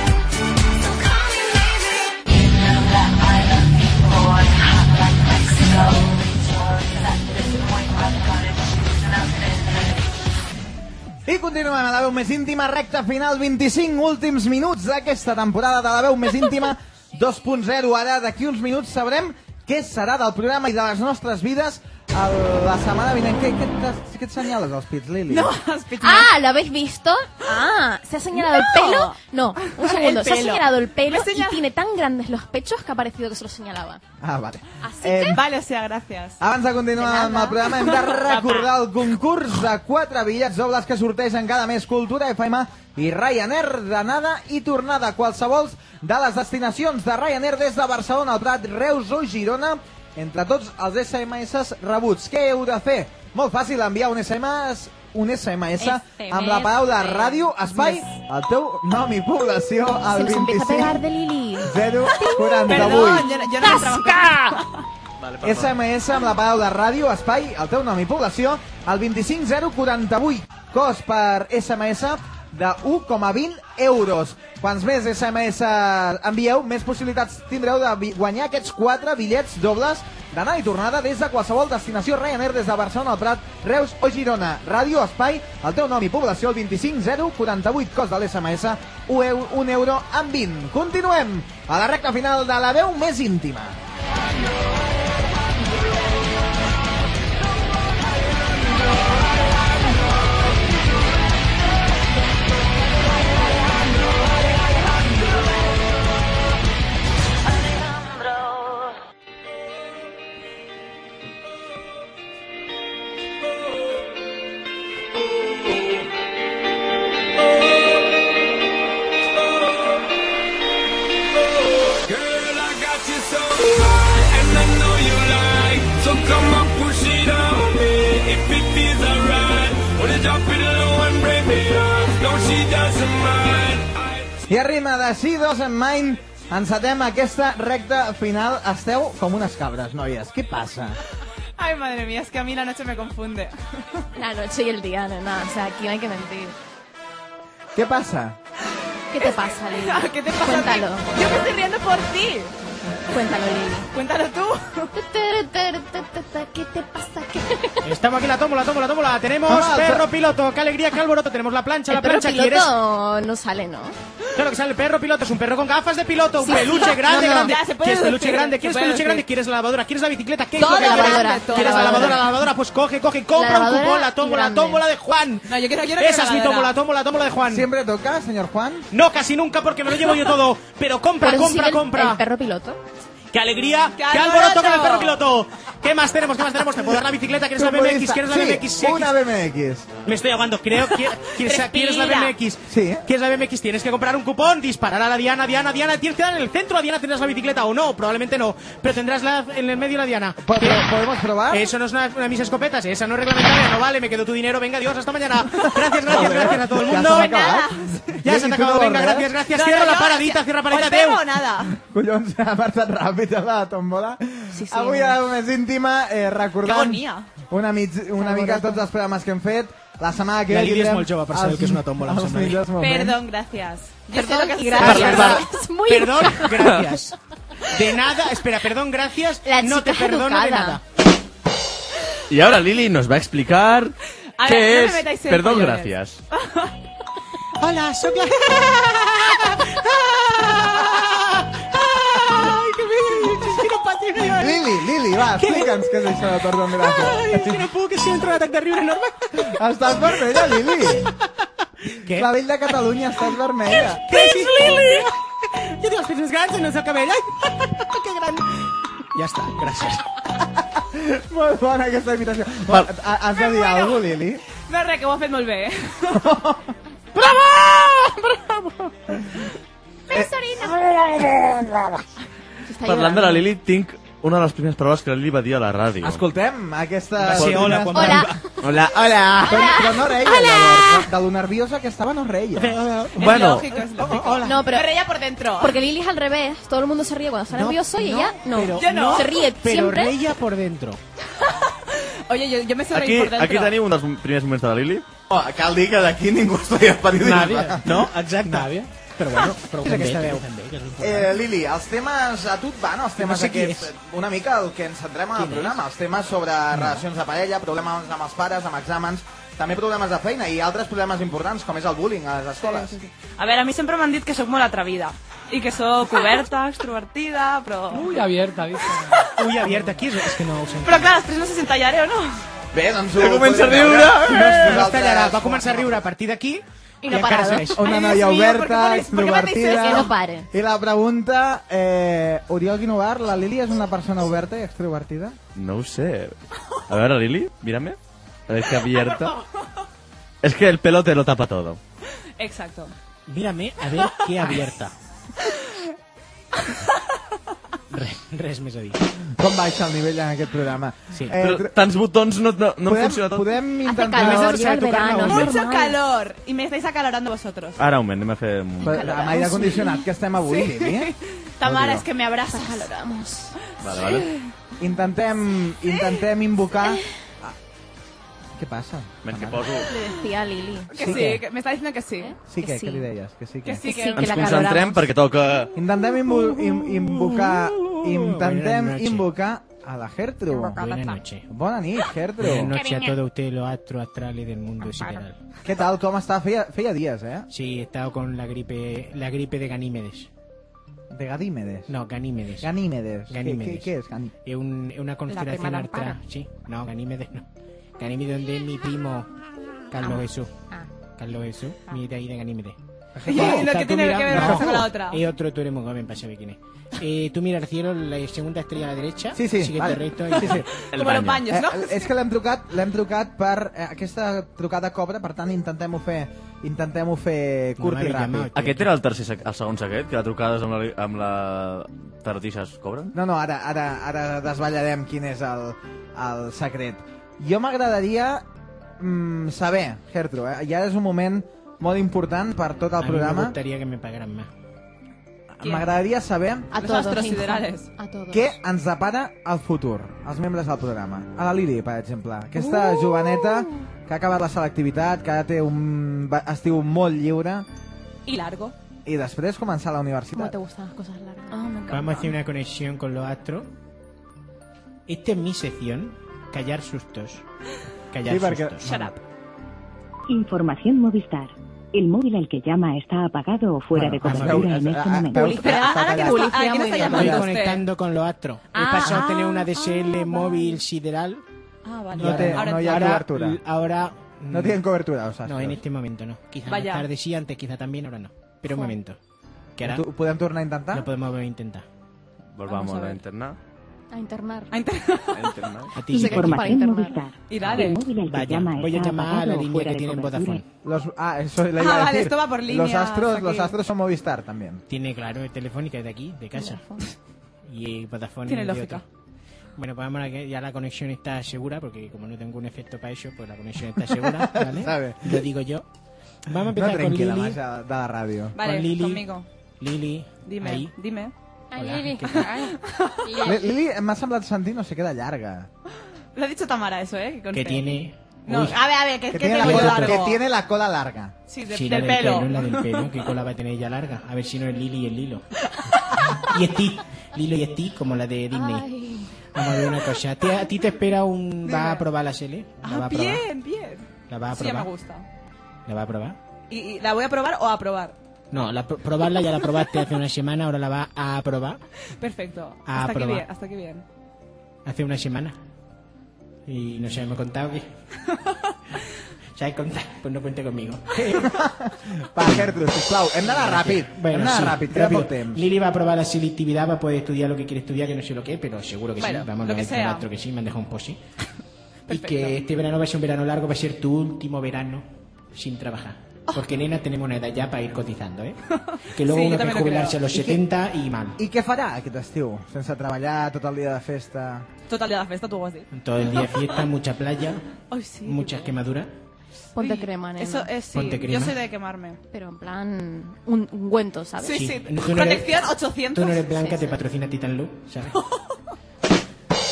So call me maybe. You know that I love you, boy. Hot like Mexico.
I continuem amb la veu més íntima, recta final, 25 últims minuts d'aquesta temporada de la veu més íntima 2.0. Ara, d'aquí uns minuts, sabrem què serà del programa i de les nostres vides el- la setmana vinent. Què, què, t'has- què et senyales als pits, Lili?
No, has pitjat.
Ah, ¿lo habéis visto? Ah, ¿se ha señalado el pelo? No, un segundo,
El
se ha
pelo.
señalado el pelo
Me ha
y
señalado-
tiene tan grandes los pechos que ha parecido que se los señalaba.
Ah, vale.
Así
Em,
Vale, o sea, gracias.
Abans de continuar amb el programa hem de recordar el concurs de 4 bitllets dobles que sortegen cada mes Cultura FM i Ryanair d'anada i tornada a qualsevol de les destinacions de Ryanair des de Barcelona, el Prat, Reus o Girona entre tots els SMS rebuts. Què heu de fer? Molt fàcil, enviar un SMS un SMS amb la paraula ràdio, espai, el teu nom i població
Se
al
nos empieza a
25
pegar de Lili.
048.
Perdón, yo, no- yo no trabajo.
Vale, perdó.
SMS amb la paraula ràdio, espai, el teu nom i població, al 25048. Cost per SMS de 1,20 euros. Quants més SMS envieu, més possibilitats tindreu de vi- guanyar aquests 4 bitllets dobles d'anar i tornada des de qualsevol destinació Ryanair des de Barcelona, el Prat, Reus o Girona. Ràdio, espai, el teu nom i població, el 25048, cost de l'SMS, 1 eu- un euro amb 20. Continuem a la recta final de la veu més íntima.
Alejandro,
I a ritme de si dos en main encetem aquesta recta final. Esteu com unes cabres, noies. Què passa?
Ay, madre mía, es que a mí la noche me confunde.
La noche y el día, nena. O sea, aquí no hay que mentir.
Què passa?
¿Qué te pasa, Lili?
¿Qué te pasa a ti?
Cuéntalo.
Yo me estoy riendo por ti.
Cuéntalo, Lili.
Cuéntalo tú.
¿Qué te pasa? ¿Qué-
Estamos aquí, la tomo, la tomo, la tomo, la tenemos.
Ah,
perro piloto, qué alegría, qué alboroto. Tenemos la plancha,
El
la
perro
plancha.
piloto
¿Quieres?
no sale, ¿no?
Claro que sale el perro piloto, es un perro con gafas de piloto, un
Sí, sí.
peluche
No,
grande,
no.
grande.
Ya, se puede
¿Quieres peluche
decir,
grande?
se
¿Quieres
puede
peluche
decir.
grande? ¿Quieres la lavadora? ¿Quieres la bicicleta? ¿Qué es
Todo
lo que
grande,
quieres?
todo
¿Quieres la lavadora?
lavadora.
La lavadora, pues coge, coge, y compra un
Lavadora
cupón, la
y
tómbola, la
grande.
tómbola de Juan.
No, yo quiero, quiero que
Esa es mi
lavadora.
tómbola, la tómbola, la tómbola de Juan.
¿Siempre toca, señor Juan?
No, casi nunca porque me lo llevo yo todo. Pero compra,
Pero
compra,
sigue Pues el-
compra.
El perro piloto.
¡Qué alegría! ¡Qué,
¡Qué
alboroto con el
alboroto!
perro piloto! ¿Qué más tenemos? ¿Qué más tenemos? ¿Te puedo dar la bicicleta? ¿Quieres la BMX? ¿Quieres la
Sí,
BMX? Sí,
una BMX.
Me estoy ahogando, creo. que ¿Quieres, ¿Quieres la
Respira.
BMX?
Sí.
¿Quieres la BMX? Tienes que comprar un cupón, disparar a la Diana, Diana, Diana. Tienes que dar en el centro a Diana, tendrás la bicicleta o no, probablemente no. Pero tendrás la, en el medio la Diana.
Po- po- ¿Podemos probar?
Eso no es una, una de mis escopetas, esa no es reglamentaria, no vale, me quedo tu dinero, venga, adiós, hasta mañana. Gracias, gracias, gracias a todo el
Ya
mundo.
se m'ha acabat.
Ya
I
se te
tu
ha acabado,
no
venga,
vols, eh?
gracias, gracias.
No, no,
cierra
no,
la paradita,
gracias.
cierra
Os
paradita,
veo
Teu.
o nada.
Collons, ha marxat ràpid a la tombola.
Sí, sí,
Avui a
no.
la més íntima, eh,
Que
recordant
agonia.
una, mig, una mica tots els programes que hem fet. La setmana que
La
ve
Lídia és
tindrem
molt jove per saber
els-
el que és una tómbola, em
els
sembla a mi.
millors moments.
Perdón, gracias. Yo sé
Perdón
lo que
y
es-
gracias.
Perdón.
Es muy
Perdón, gracias. De nada, espera, perdón, gracias.
La
no te
chica
perdono de
educada.
nada.
Y ahora Lili nos va a explicar
A
qué
ver, no me
es.
metáis en
Perdón,
follones.
gracias.
Hola, soy la... ¡Ay, qué bien! Es que no pasa ni una
Lili, Lili, va, explica'ns què és això de Perdón,
Ai, és
gràcies.
que no puc, és que entro en atac de riure enorme.
Estàs vermella, Lili.
Què?
La vell de Catalunya, estàs vermella.
Tens Lili! Jo tinc els pits més grans i no és el cabell. Ai, que gran. Ja està, gràcies.
Molt bona aquesta imitació. Bon, ha- has de dir alguna cosa, Lili?
No, re, que vos fes molt bé.
Está
Parlant de la
llorando.
Lili, tinc una de les primeres paraules que la Lili va dir a la ràdio.
Escoltem aquesta...
Va ser hola quan
Hola.
Hola, hola.
Però, però no reia, llavors. De lo nerviosa que estava, no reia.
Bueno,
Es lógico, es lógico.
No, pero
Pero ella por dentro.
porque Lili es al revés. Todo el mundo se ríe cuando está nervioso y ella no.
Pero,
Yo no.
Se ríe
Però
siempre.
reia por dentro.
Oye, yo, yo me sé
aquí,
reír por dentro.
aquí teniu un dels primers moments de la Lili.
Cal dir que d'aquí ningú estudia periodisme.
Nàvia. No, exacte. Nàvia. Però bueno, però ho fem bé,
aquesta veu.
ho fem bé, que és important.
Eh, Lili, els temes a tu et van, els temes
No sé qui
aquests, una mica el que ens centrem en el programa, els temes sobre relacions de parella, problemes amb els pares, amb exàmens, també problemes de feina i altres problemes importants, com és el bullying a les escoles.
A ver, a mí siempre me han dicho que soy muy atrevida. Y que soy cubierta, extrovertida, pero...
abierta, dice. Uy, abierta, aquí és, és que no ho sé.
Però clar, després no sé si em tallaré o no.
Bé, doncs...
Ja comença a riure.
No es tallarà, va començar a riure a partir d'aquí
I no
i encara
parado.
segueix.
Una
Ai, Dios
noia
mío,
oberta,
¿por qué ponéis- por qué me hacéis
extrovertida...
esto? Que no pare.
I la pregunta, eh, Oriol Guinovar, la Lili és una persona oberta i extrovertida?
No ho sé. A ver, Lili, mírame. Es que abierta. Es que el pelo te lo tapa todo.
Exacto.
Mírame a ver qué abierta. Res, res més a dir.
Com baixa el nivell en aquest programa?
Sí.
Però
tr-
tants botons no, no, no
Eh, podem,
funciona tot.
podem intentar...
calor,
A més has de
Oriol,
saber tocar-la,
verano,
Oriol.
normal.
Mucho calor. Y me estáis acalorando vosotros.
Ara un moment, anem a fer... un-
Però Amb aire condicionat, que estem avui, Lili, eh?
Tamara, es que me abrazas.
Valoramos.
Vale, vale.
Intentem, intentem invocar... Ah. Què passa?
Men, que poso...
Le decía a Lili.
Que
Sí,
sí,
que-
que me está diciendo que sí.
Sí que, sí.
Que sí.
què li deies? Que sí que.
Que sí, que...
Sí, que
Ens
la
concentrem
caloramos.
perquè toca...
Intentem invo- im- invocar... Intentem
Buenas noches.
invocar a la Gertrude.
Buenas noches.
Bona nit,
Buenas
Gertrude.
noches a todo usted, los astros astrales del mundo sideral.
Què tal, com està? Feia, feia dies, eh?
Sí, he estado con la gripe, la gripe de Ganímedes.
De Gadímedes.
No, Ganímedes.
Ganímedes. Què-
Ganímedes.
Què, què és Ganí?
Es un- es una constelación artra. Sí, no, Ganímedes no. Ganímedes donde mi primo Carlos Jesús.
Ah.
Carlos Jesús, mi de ahí de Ganímedes.
Y lo que
Está tú
tiene que ver
mirando-
una cosa con la otra.
Es otro, tú eres muy joven para saber quién es. Eh, tú mira al cielo, la segunda estrella a la derecha.
Sí, sí,
Sigue
vale.
el recto.
Sí,
Y...
sí.
El
Como los
baño.
baños, ¿no?
Eh, és que l'hem trucat, l'hem trucat per eh, aquesta trucada cobra, per tant intentem-ho fer, intentem-ho fer curt i
m'havia
ràpid.
llamat.
Aquest era el tercer, sec- el segon secret, que la trucades amb la, amb la tartissa es cobren?
No, no, ara, ara, ara desballarem quin és el, el secret. Jo m'agradaria mm, saber, Gertrude, eh? ja és un moment molt important per tot el
A mí me
programa.
gustaría que me pagaran más.
M'agradaria saber
A
Los
todos.
astros
hijo.
siderales.
A todos.
què ens depara el futur, els membres del programa. A la Lili, per exemple, aquesta
Uh!
joveneta que ha acabat la selectivitat, que ara té un va- estiu molt lliure
Y largo.
i després començar la universitat.
¿Cómo te gustan las cosas largas?
Ah,
Vamos a hacer una conexión con los astros. Esta es mi sección, callar sustos. Callar
Sí, perquè-
sustos.
Shut up.
Información Movistar. El móvil al que llama está apagado o fuera de cobertura en este momento.
publicidad muy bien.
Estoy
llamando usted?
conectando con los astros.
Ah,
He pasado a tener
ah,
una DSL móvil sideral.
Ah, vale.
No, te,
Ahora
no hi ha
ahora-
cobertura.
Ahora... mm,
No tienen cobertura, o sea.
No, en este momento no. Quizá
Vaya.
más tarde sí, antes quizá también, ahora no. Pero un
Jo.
momento. Que ahora
Tu- Podem tornar a intentar?
lo podemos volver a intentar.
Volvamos
Vamos a
a,
ver.
internar.
A internar.
A inter-
A internar.
A ti, Vicky.
Información
internar.
Movistar.
Y dale.
El móvil al que
Vaya,
llama
voy a
está
llamar a la
apagado o
línea
fuera
que
de
tiene
cobertura.
Vodafone.
Los, ah, eso le
Ah,
iba a
vale,
decir.
esto va por líneas,
Los astros,
aquí.
los astros son Movistar también.
Tiene, claro, telefónica de aquí, de casa. Y eh, Vodafone
Tiene
es de
lógica.
otro. Bueno, pues vamos a que ya la conexión está segura, porque como no tengo un efecto para eso, pues la conexión está segura, ¿vale?
Sabe.
Lo digo yo. Vamos a
No
empezar con
trenqui la
Lili.
màgia de la ràdio.
Vale,
Con Lili.
conmigo.
Lili,
Dime,
ahí.
dime.
Hola, ¿qué
Li- Lili, m'ha semblat sentir, no sé què, de llarga.
Lo ha dicho Tamara eso, ¿eh? Que
que
conste.
tiene...
No,
Uy,
a ver, a ver, que, que,
tiene la
tengo
cola,
largo.
que tiene la cola larga.
Sí, de,
sí, la
del
del
pelo.
la del pelo, que cola va a tener ya larga. A ver si no es Lili y el Lilo. y Steve. Lilo y Steve, como la de Disney.
Ay,
Vamos a ver una cosa. ¿A ti, a ti te espera un... ¿Va a probar la serie? ¿La va
Ah,
a probar?
bien, bien.
¿La va a
Sí, ya me
probar?
gusta.
¿La va a probar?
Y, y la voy a probar o a probar.
No, la, pro- probarla ya la probaste hace una semana, ahora la va a probar.
Perfecto.
A
hasta aquí
probar.
bien, hasta aquí bien.
Hace una semana. Y no sé, me he contado que... Ya he contado, pues no cuente conmigo.
Va, Gertrude, sisplau, hem d'anar ràpid. hem d'anar
sí,
ràpid, queda poc temps.
Lili va a probar la selectividad, va a poder estudiar lo que quiere estudiar, que no sé lo que es, pero seguro que
Bueno,
sí. Vamos,
lo que
a
sea.
otro que sí, me han dejado un posi. y
Perfecto.
que este verano va a ser un verano largo, va a ser tu último verano sin trabajar. Porque, nena, tenemos una edad ya para ir cotizando, ¿eh? Que luego
Oh. Sí, yo
uno
también
hay que
lo
jubilarse
creo.
a los 70 y mal.
I què farà aquest estiu? Sense treballar, tot el dia de festa...
Total de la fiesta, tú vas a decir.
Todo el día fiesta, mucha playa,
Ay, sí.
muchas quemaduras.
Ponte
Uy,
crema, nena.
Eso es, sí.
Ponte crema.
Yo soy de quemarme.
Pero en plan, un ungüento, ¿sabes?
Sí, sí.
Sí, tú no eres-
Conexión
Tú
800.
no eres blanca,
Sí, sí.
te patrocina Titan Luz, ¿sabes?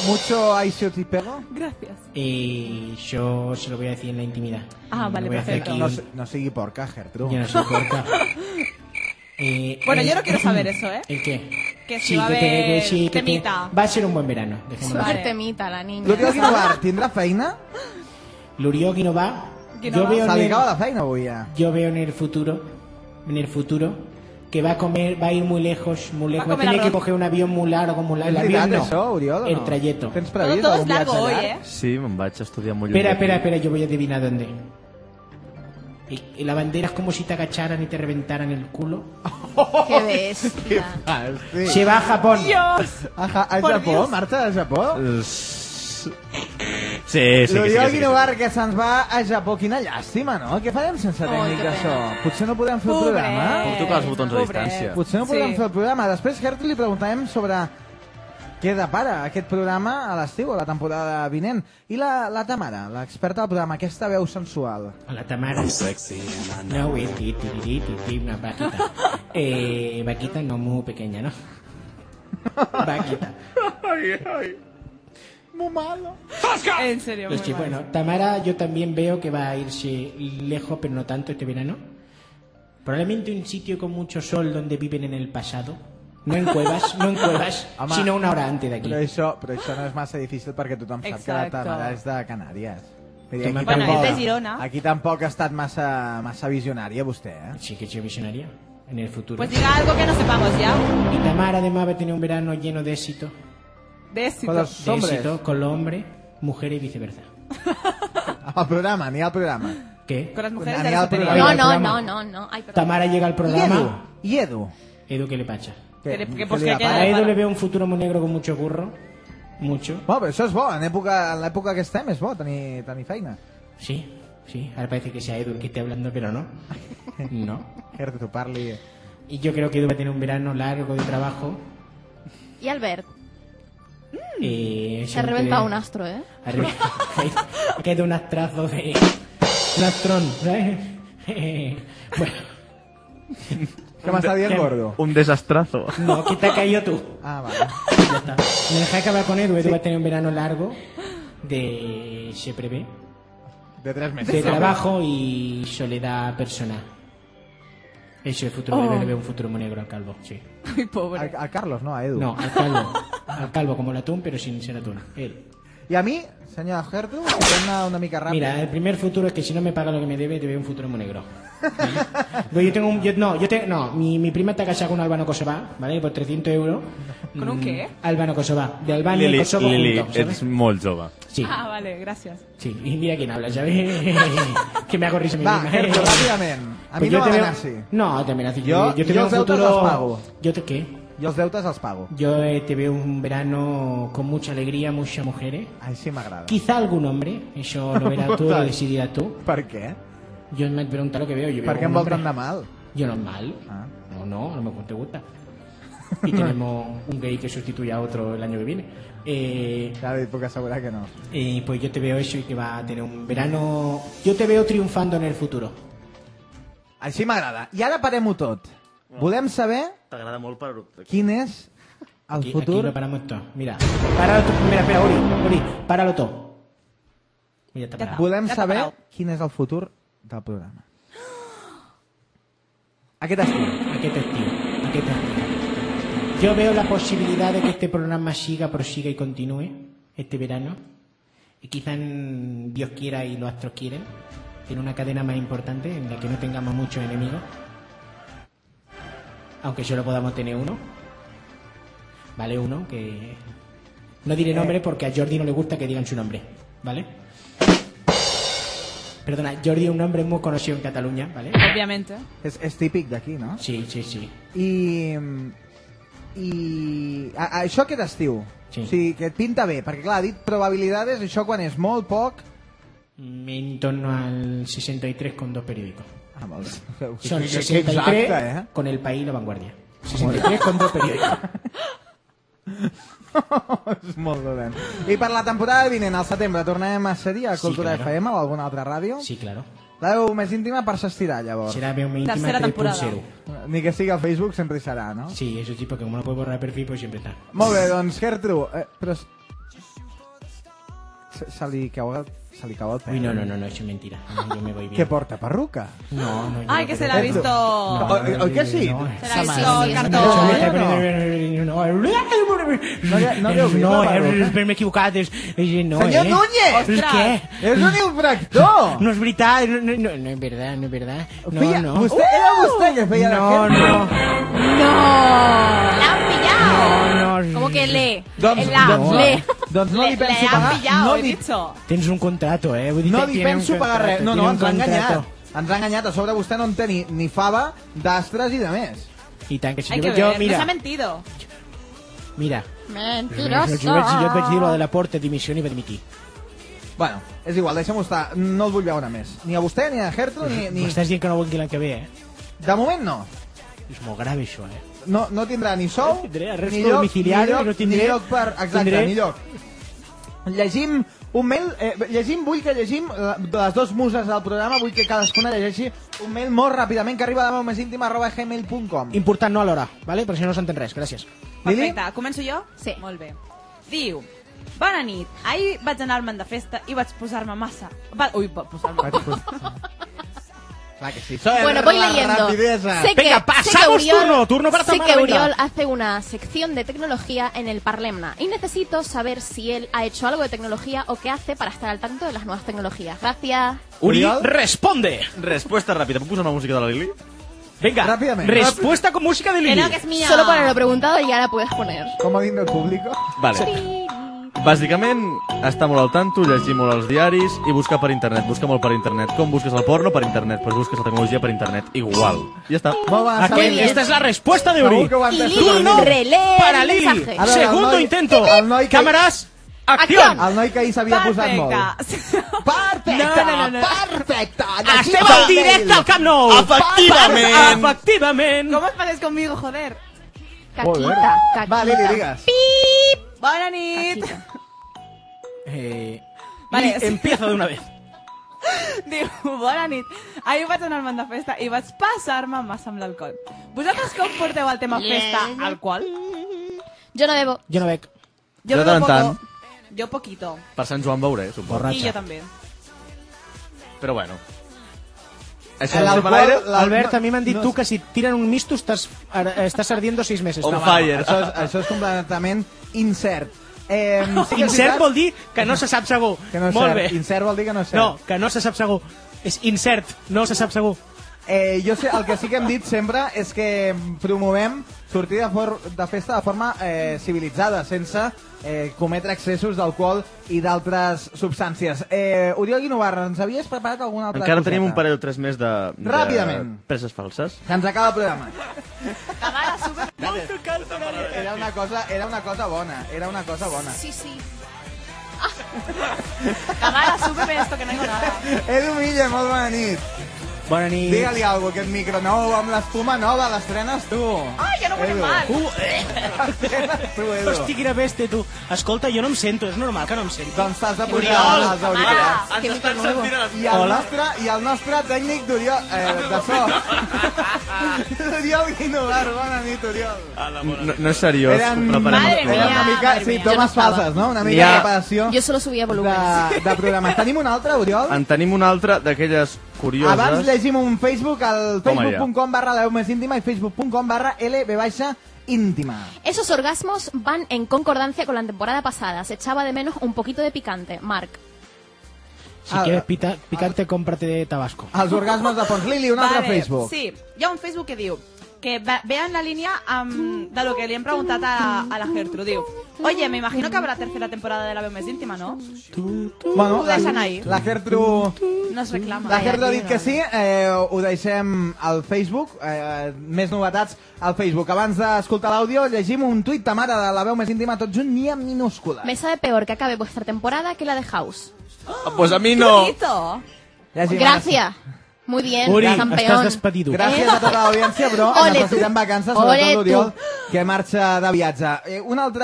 Mucho aicio y pego?
Gracias.
y yo se lo voy a decir en la intimidad.
Ah,
No
vale,
voy a hacer
perfecto.
aquí
No,
un-
se- no sigui porca, Gertrude.
Yo no soy porca. Eh,
Bueno,
el-
yo no quiero saber eso, ¿eh?
¿El qué?
Que si va a
te-
haber
sí, te-
temita.
Va a ser un buen verano. dejémoslo.
Súper
Vale.
temita la niña.
L'Oriol Guinovar tindrà feina?
Lurió que no va.
Que no
Yo
va.
veo
Se
en el,
dedicava a la feina avui ja.
yo veo en el futuro, en el futuro, que va a comer, va a ir muy lejos, muy lejos.
comer
tiene que
arroz.
coger un avión muy largo, muy largo. El
És
avión
veritat,
no.
això, Oriol, o no?
el trayecto.
Tens
Todo,
previst
todo es
algun
largo
viatge
hoy,
llarg?
¿eh?
Sí, me'n vaig a estudiar molt
Espera,
lluny
espera,
d'aquí.
espera, yo voy a adivinar dónde. Y- Y la bandera es como si te agacharan y te reventaran el culo.
Qué bestia.
Se va a Japón.
Dios.
A, ja Ah, a
Por
Japó?
Dios.
Marxa a Japó?
Sí, sí, sí. sí,
L'Oriol
sí, sí,
Guinovar, que se'ns va a Japó. Quina llàstima, no? Què farem sense tècnic,
que
això? Potser no podem fer el programa?
Puc tocar els botons a
Pobret.
distància.
Potser no podrem fer el programa. Després, Gertrude, li preguntarem sobre què depara aquest programa a l'estiu, a la temporada vinent. I la, la Tamara, l'experta del programa, aquesta veu sensual.
Hola, Tamara. No, güey, ti, ti, ti, ti, ti, una vaquita. Eh, vaquita no muy pequeña, ¿no? Vaquita.
En serio,
Pues
muy
sí,
mal.
bueno, Tamara yo también veo que va a irse lejos, pero no tanto este verano. Probablemente un sitio con mucho sol donde viven en el pasado. No en cuevas, no en cuevas,
Ama.
sino una hora antes de aquí.
Però això, però això no és massa difícil perquè tothom sap que la
Exacte.
Tamara és de Canàries. Vull dir,
Bueno,
és de Girona.
aquí tampoc ha estat massa, massa visionària, vostè, eh?
Sí que soy visionaria en el futuro.
Pues diga algo que no sepamos ya.
Y Tamara además va a tener un verano lleno de éxito.
De éxito.
Con los
De
hombres,
éxito con los hombres, mujeres y viceversa.
al programa, ni al programa.
¿Qué?
Con las mujeres
Nadie
de
ha
la
probado.
No,
superior.
no, no, no, no. Ay, perdón.
Tamara llega al
I Edu?
programa.
I Edu?
Edu, ¿qué le pacha?
Que le- que
què
pues
li
que
depara?
A Edu
Tamara.
le veo un futuro muy negro con mucho curro. Mucho.
Bueno, però això és bo, en època- en l'època que estem és bo tenir, tenir feina.
Sí, sí. Ahora parece que sea Edu el que esté hablando, pero no. No.
Gertrude, tu parli...
Y yo creo que Edu va a tener un verano largo de trabajo.
Hmm. Y Albert, se
Eh,
ha
siempre-
reventado un astro, ¿eh?
Ha reventado- Queda un astrazo de... Un astrón, ¿sabes? bueno.
¿Qué más había el gordo?
Un desastrazo.
No, que te ha caído tú.
Ah, vale.
Ya está. Me deja acabar con Edu. Edu va a tener un verano largo de... se prevé.
De tres meses.
De trabajo y soledad personal. Eso es futuro.
Oh.
Le veo un futuro muy negro al calvo, sí.
Muy pobre. A, a Carlos, no, a Edu.
No, al calvo. al calvo, como el atún, pero sin ser atún. Él.
I a mi, senyora Gertu, que una, una mica ràpida.
Mira, el primer futuro es que si no me paga lo que me debe, te veo un futuro muy negro. No, yo tengo un. yo- no, yo te- no, mi, mi prima está casada con un albano kosovar, ¿vale? Por 300 euros. Mm,
¿Con un qué?
Albano kosovar. De Albania y
Lili,
Kosovo
Lili,
juntos, ¿sabes?
ets molt jove.
Sí.
Ah, vale, gracias.
Sí, y mira quién habla, ¿sabes? que me hago risa a mí
Va,
misma. Pues
Gertu, ràpidament. A mi
eh. yo
no
te veo-
m'amenaci.
No, te amenazo.
Jo-
Yo, yo te
jo
veo un
els deutes
futuro...
els pago.
¿Yo te qué?
Jo els deutes els pago.
Yo eh, te veo un verano con mucha alegría, muchas mujeres.
Ai, sí m'agrada.
Quizá algún hombre, eso lo verás tú, lo decidirás tú.
Per què?
Yo me pregunto lo que veo.
Per
Yo veo
què em
un
vol
hombre.
tant de mal?
Yo no es mal. No, no, a lo mejor te gusta. Y tenemos un gay que sustituye a otro el año que viene. Eh,
claro, puedo asegurar que no.
Y pues yo te veo eso y que va a tener un verano. Yo te veo triunfando en el futuro.
Així m'agrada. I ara parem-ho tot. Volem saber
T'agrada molt per...
quin és el
Aquí-
futur...
aquí lo paramos todo. Mira. Páralo tú. Mira, espera, Uri, Uri, páralo todo. Mira, está parado.
Volem saber quin és el futur del programa. Aquest estiu.
Aquest estiu. Aquest estiu. Yo veo la posibilidad de que este programa siga, prosiga y continúe este verano. Y quizás mm, Dios quiera y los astros quieren. En una cadena más importante en la que no tengamos muchos enemigos. Aunque solo podamos tener uno. Vale, uno que. No diré nombre porque a Jordi no le gusta que digan su nombre. ¿Vale? Perdona, Jordi es un nombre muy conocido en Cataluña, ¿vale?
Obviamente.
És, és típic d'aquí, no?
Sí, sí, sí.
I... I... A, a, això aquest estiu.
Sí.
O sigui, que et pinta bé, perquè clar, ha dit probabilidades, això quan és molt poc...
Me en torno al 63 con dos periódicos.
Ah, molt bé.
Son
Que- que
63
exacte, eh?
con El País y La Vanguardia. 63 con dos periódicos.
és molt dolent. I per la temporada vinent, al setembre, tornarem a ser a
Sí,
Cultura
claro.
FM o alguna altra ràdio?
Sí, claro.
La veu més íntima per s'estirar, llavors.
Será Veo Mi Íntima
Tercera temporada.
3.0.
Ni que sigui al Facebook sempre hi serà, no?
Sí, eso sí, porque como no puedo borrar el perfil, pues siempre está.
Molt bé, doncs, Gertru, eh, però... s- Se, se, li cau el, se li cau el pèl.
Uy, no, no, no, no, eso es mentira. No, yo me voy bien.
Que porta perruca.
No, no, yo
Ay,
no
que
creo.
se la ha visto.
Oh.
Oi, oi, oi que sí?
Se la ha visto el cartón.
Me está poniendo- No,
no había
no,
olvidado,
eh, me he equivocado. es- es- No,
Senyor
eh.
Núñez!
¿Es qué?
És un infractor!
No es verdad, no, no, no, no es verdad, no es verdad. No,
Feia-
no.
Vostè, era vostè que feia
No,
la
no.
¡La han pillado!
No, no.
¿Cómo que le?
Doncs,
la,
doncs,
le.
doncs no li
Le
penso
han
pagar.
pillado,
eh,
no
he
li,
dicho.
Tens un contrato, eh? Vull dir,
no
te-
li
tiene un
penso pagar
contrato,
res. No,
tiene
no,
un
ens ha
contrato.
enganyat. Ens ha enganyat. A sobre vostè no en té ni, ni fava, d'astres i de més.
I tant que sí.
Hay
Jo,
que
jo,
ver.
mira,
Nos ha mentido.
mira.
Mentiroso.
Jo, vaig, jo et vaig dir lo de l'aporte, dimissió i va dimitir.
Bueno, és igual, deixem-ho estar. No el vull veure més. Ni a vostè, ni a Gertrude, ni... ni...
M'estàs dient que no vulgui l'any que ve, eh?
De moment no.
És molt grave, això, eh?
No, no tindrà ni sou,
No tindré arresto
ni lloc, ni
domiciliari,
lloc,
no tindré-
ni lloc per... Exacte,
tindré-
ni lloc. Llegim un mail, eh, llegim, vull que llegim eh, de les dues muses del programa, vull que cadascuna llegeixi un mail molt ràpidament que arriba a la meva més íntima arroba gmail.com.
Important no a l'hora, ¿vale? per si no s'entén res, gràcies.
Lili?
Perfecte, començo jo?
Sí.
Molt bé. Diu, bona nit, ahir vaig anar-me'n de festa i vaig posar-me massa... Va... Ui, va posar-me...
Clar que sí.
Bueno, voy leyendo. Sé que,
Venga,
sé
pasamos
que Uriol,
turno, turno para
sé
Tamara,
que
venga.
Uriol hace una sección de tecnología en el Parlemna y necesito saber si él ha hecho algo de tecnología o qué hace para estar al tanto de las nuevas tecnologías. Gracias.
Uri,
Oriol?
responde!
Resposta ràpida. Puc posar una música de la Lili?
Venga,
Ràpidament.
respuesta con música de
Que
Lili.
no, que es mía. Solo por lo preguntado y ahora puedes poner.
Com ha dit el públic?
Vale. Bàsicament, estar molt al tanto, llegir molt els diaris i buscar per internet. Buscar molt per internet. Com busques el porno? Per internet. Pues busques la tecnologia per internet. Igual. Ja està.
Molt bona,
Aquí,
Sabine.
esta es la respuesta de
Segur
Uri.
que ho ha entès
Lili,
totalment.
relee
Para
el
Lili.
mensaje.
A veure, el
Segundo
noi-
intento.
el noi que-
Cámaras, acción.
Acción.
El noi que ahir s'havia posat molt. Perfecte,
No, no, no, no.
perfecte.
Estem al directe al Camp Nou.
Efectivament.
Efectivament.
¿Cómo os paréis conmigo, joder?
Ah,
Caquita, caquita.
Va, Lili, digues.
Bona nit!
Caquita.
Eh,
Vale,
Lili,
sí.
empieza de una vez.
Diu, bona nit. Ahir vaig anar al man de festa i vaig passar-me massa amb l'alcohol. Vosaltres com porteu el tema festa, alcohol?
Jo no bebo.
Jo no bec.
Jo de tant en tant,
Jo poquito.
per Sant Joan veuré, suposo.
I jo també.
Però bueno.
El
no surt a
alcohol-
l'aire?
Albert, a mi m'han dit tu que si et tiren un misto estàs, ar- eh, estàs ardiendo sis mesos.
On
No,
fire.
va,
Això és, això és completament incert. Eh,
no.
sí que és
Incert
veritat-
vol dir que no se sap segur.
Que no és
Molt
cert.
bé.
Incert vol dir que no és cert.
No, que no se sap segur. És incert, no se sap segur.
Eh, jo sé, el que sí que hem dit sempre és que promovem sortir de, for de festa de forma eh, civilitzada, sense eh, cometre excessos d'alcohol i d'altres substàncies. Eh, Oriol Guinovar, ens havies preparat alguna altra
Encara
coseta?
tenim un parell o tres més de... de
Ràpidament.
Preses falses.
Que ens acaba el programa. Era una cosa, era una cosa bona, era una cosa bona.
Sí, sí.
Tamara, súbeme esto que no tengo nada.
Edu Milla, molt bona nit.
Bona nit.
Digue-li alguna cosa, aquest micro nou, amb l'espuma nova, l'estrenes tu.
Ai, ja no huele
Edu.
mal.
Uh, eh.
Tu, Edu.
Hosti, quina bèstia, tu. Escolta, jo no em sento, és normal que no em sento.
Doncs t'has de posar
Oriol,
els auriculars.
Ens estan sentint a les-
I el
Hola.
nostre, i el nostre tècnic d'Oriol, eh, de so. Oriol Guinovar, bona nit, Oriol.
Ah, No, no és seriós.
Eren-
preparem
Madre
el
mia,
programa.
una mica,
madre
sí,
mia,
tomes
jo no estava.
falses, no? Una
N'hi
mica
ha-
de preparació
Jo solo subia volúmens.
de, de programa. Tenim un altre, Oriol?
En tenim una altra d'aquelles curioses.
Abans llegim un Facebook al
Home, ja.
facebook.com barra la veu més íntima i facebook.com barra lb baixa íntima.
Esos orgasmos van en concordancia con la temporada pasada. Se echaba de menos un poquito de picante, Mark.
Si
Ah,
quieres pita- picarte, cómprate de Tabasco.
Els orgasmes de Pons Lili, un altre
Vale,
Facebook.
Sí, hi ha un Facebook que diu que va- vean la línea am, de lo que le han preguntado a, a la Gertrude. Diu, Oye, me imagino que habrá tercera temporada de la veu més íntima, ¿no?
Bueno,
Ho
la,
deixen ahí.
la Gertru...
No es reclama.
La Gertru ha dit que sí, eh, ho deixem al Facebook, eh, més novetats al Facebook. Abans d'escoltar l'àudio, llegim un tuit de mare de la veu més íntima, tot junt, ni en minúscula.
Me sabe peor que acabe vuestra temporada que la de House.
Ah, Pues a mi
Oh.
no.
Bonito.
Llegim ara sí.
Gracias. Muy bien,
Uri, estàs
campeón.
despedido.
Gràcies a tota l'audiència, però
Ole
necessitem
tu.
vacances,
Ole
sobretot
tu.
l'Oriol, que marxa de viatge. Eh, un altre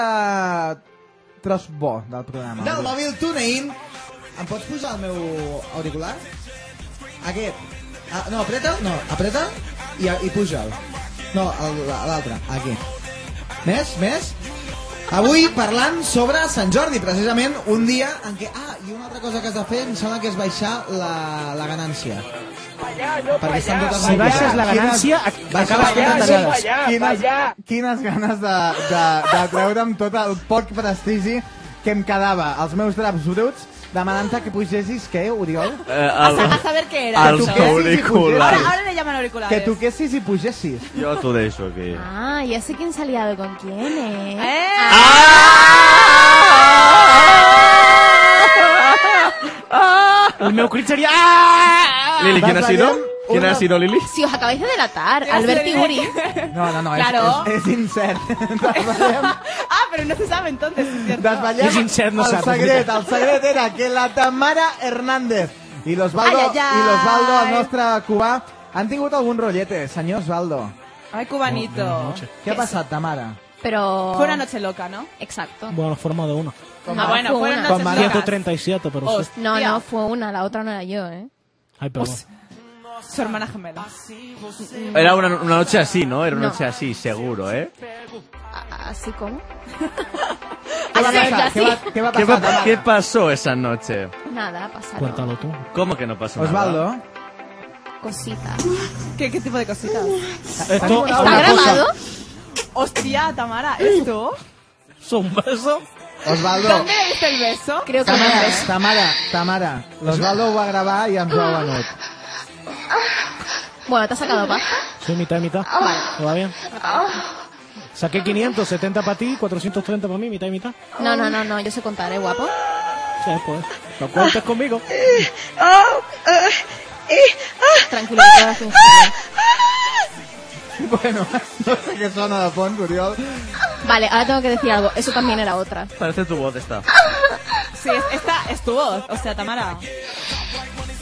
tros bo del programa. Del mòbil TuneIn. Em pots posar el meu auricular? Aquest. Ah, no, apreta, no, apreta i, i puja'l. No, el- l'altre, aquí. Més, més? Avui parlant sobre Sant Jordi, precisament un dia en què... Ah, i una altra cosa que has de fer em sembla que és baixar la, la ganància. Perquè estan totes
Si baixes la ganància, ac- acabes fent retallades.
quines, quines ganes de, de, de treure'm tot el poc prestigi que em quedava, els meus draps bruts, demanant-te que pugessis, què, Oriol?
Eh, el,
A saber qué era.
el
tu què?
auricular.
Ahora, ahora le llaman auriculares.
Que toquessis i pugessis.
Jo t'ho deixo aquí.
Ah, ya sé quién se ha liado con quién, ¿eh?
Eh,
Ah,
El meu crit seria... Ah!
Lili, ¿quién ha
Vas
sido?
veient
¿Quién
una-
ha sido, Lili?
Si os acabáis de delatar,
Te vas a
Albert y
decir-
Uri.
No, no, no,
Claro.
és, és, és incert.
ah, pero no se sabe entonces. es cierto.
Desvetllem
És incert, no
el
sap,
secret. El secret era que la Tamara Hernández i l'Osvaldo,
Ai, ai, ai.
i l'Osvaldo, el nostre cubà, han tingut algun rollete, senyor Osvaldo.
Ay,
Ah!
cubanito.
Què ha passat, Tamara?
Ah, Pero...
Fue una noche loca, ¿no?
Exacto.
Bueno, forma de uno.
Ah, bueno,
Fue
fueron
una.
noches
Con María
locas.
137, pero sí.
Hostia.
No, no, fue una, la otra no era yo, ¿eh?
Ay, perdón.
Su hermana gemela.
Era una, una noche así, ¿no? Era una
No.
noche así, seguro, ¿eh?
A- Así como.
Què va
Así,
passar?
así.
Què va, què va passar,
¿Qué, pa-
Tamara?
qué pasó esa noche?
Nada, pasaron
Cuéntalo tú.
¿Cómo que no pasó
Osvaldo,
nada?
cositas.
¿Qué, ¿Qué tipo de cositas?
Esto,
¿Está
una cosa,
grabado?
Hostia, Tamara, ¿esto?
es un beso.
Osvaldo,
¿Dónde es el beso?
Creo que no
Tamara,
es.
Tamara, Tamara, l'Osvaldo ho va gravar i ens ho ha venut.
Bueno, ¿te has sacado pasta?
Soy mitad y mitad. ¿Todo va bien? Saqué 500, 70 para ti, 430 para mí, mitad y mitad.
No, no, no, no, yo sé contar, ¿eh, guapo?
Sí, pues. No cuentes conmigo.
Tranquilo, que todo es un juego.
Bueno, no sé què sona de fons, Oriol.
Vale, ahora tengo que decir algo. Eso también era otra.
Parece tu voz esta.
Sí, es- esta es tu voz. O sea, Tamara.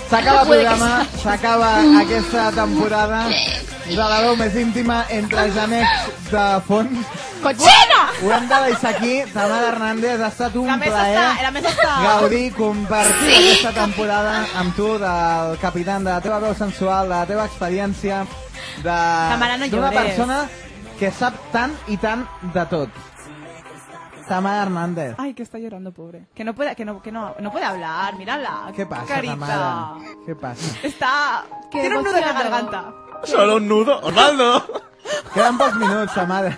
S'acaba el
Puede que
programa, s'acaba
Mm.
aquesta temporada de la veu més íntima entre genecs de fons.
cochino!
Ho hem de deixar aquí. Tamara Hernández, ha estat un
La mesa
plaer
està- la mesa està.
gaudir, compartir
Sí,
aquesta temporada amb tu, del capitán, de la teva veu sensual, de la teva experiència, de
Tamara, no
d'una
llores.
persona que sap tant i tant de tot. Tamara Hernández.
Ay, que está llorando, pobre. Que no puede, que no, que no, no puede hablar, mírala.
Què passa,
carita.
Tamara? Què passa?
Está. Tiene un nudo en la garganta.
Solo un nudo. Osvaldo.
Queden pocs minuts, Tamara.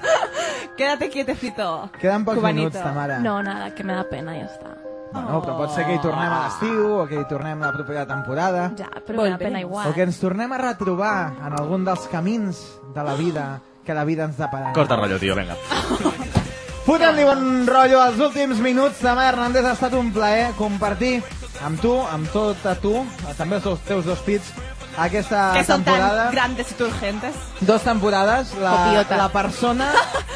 Quédate quietecito.
Queden pocs
Cubanito.
minuts, Tamara.
No, nada, que me da pena, ya está.
Bueno, però pot ser que hi tornem a l'estiu o que hi tornem la propera temporada.
Ja, però me da pena igual.
O que ens tornem a retrobar en algun dels camins de la vida que la vida ens depararà.
Corta el rollo, tío, venga.
Fotem-li bon rotllo als últims minuts. Tamara Hernández, ha estat un plaer compartir amb tu, amb tot a tu, també els teus dos pits, aquesta
que son
temporada.
tan grandes y urgentes.
Dos temporades, la,
Copiota.
la persona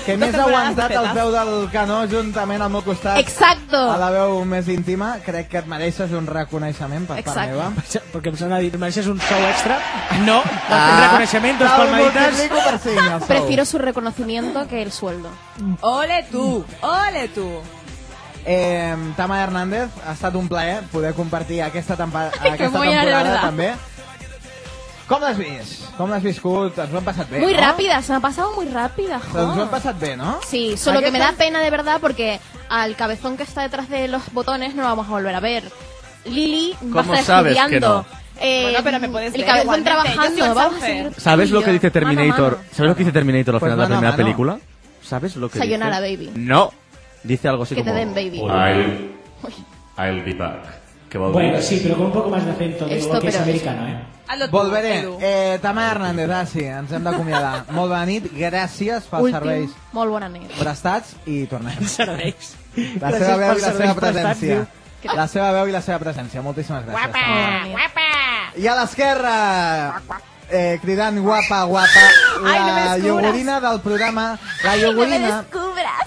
que
Dos
més ha
temporades
aguantat el
fetes.
peu del canó juntament al meu costat.
Exacto.
A la veu més íntima, crec que et mereixes un reconeixement per part
Exacto.
meva.
Perquè em sembla dir, mereixes un sou extra. No, ah, reconeixement, dos palmaditas.
Prefiero su reconocimiento que el sueldo.
Ole tú, ole tú.
Eh, Tama Hernández, ha estat un plaer poder compartir aquesta, tempa
Que
aquesta
voy a la
temporada
verdad.
també. Com l'has vist? Com l'has viscut? Ens ho hem passat bé,
muy
no?
rápida, se me ha pasado muy rápida. jo.
Ens ho hem passat bé, no?
Sí, solo que me da
Aquesta-
pena de verdad porque al cabezón que está detrás de los botones no lo vamos a volver a ver. Lili va a
¿Cómo
estar
sabes que
estudiando.
no?
Eh,
Bueno, pero me puedes
el
ver
cabezón
igualmente, yo soy
trabajando. Vamos a
surfer.
seguir
¿Sabes
tú y
lo
yo,
que dice
mano a
Terminator?
mano.
¿Sabes lo que dice Terminator al
Pues
final
mano
de la
a
primera
mano.
película? ¿Sabes lo que
Sayonara,
dice?
baby.
No. Dice algo así
Que te
como...
den baby.
I'll, I'll be back. Que va a
Bueno,
volver.
sí, pero con un poco más de acento, de,
Esto,
que es
pero-
americano, ¿eh?
Hazlo tú,
Volveré.
Edu.
Eh, Tama Hernández, ah, sí, ens hem d'acomiadar. Molt bona nit, gràcies pels
Últim,
serveis
molt bona nit.
prestats i tornem.
Serveis.
La seva veu i la seva presència.
diu.
La seva veu i la seva presència. Moltíssimes gràcies. Tamara.
guapa.
I a l'esquerra, eh, cridant guapa, guapa, la
Ai, no me descubras.
iogurina del programa, la iogurina,
descubras.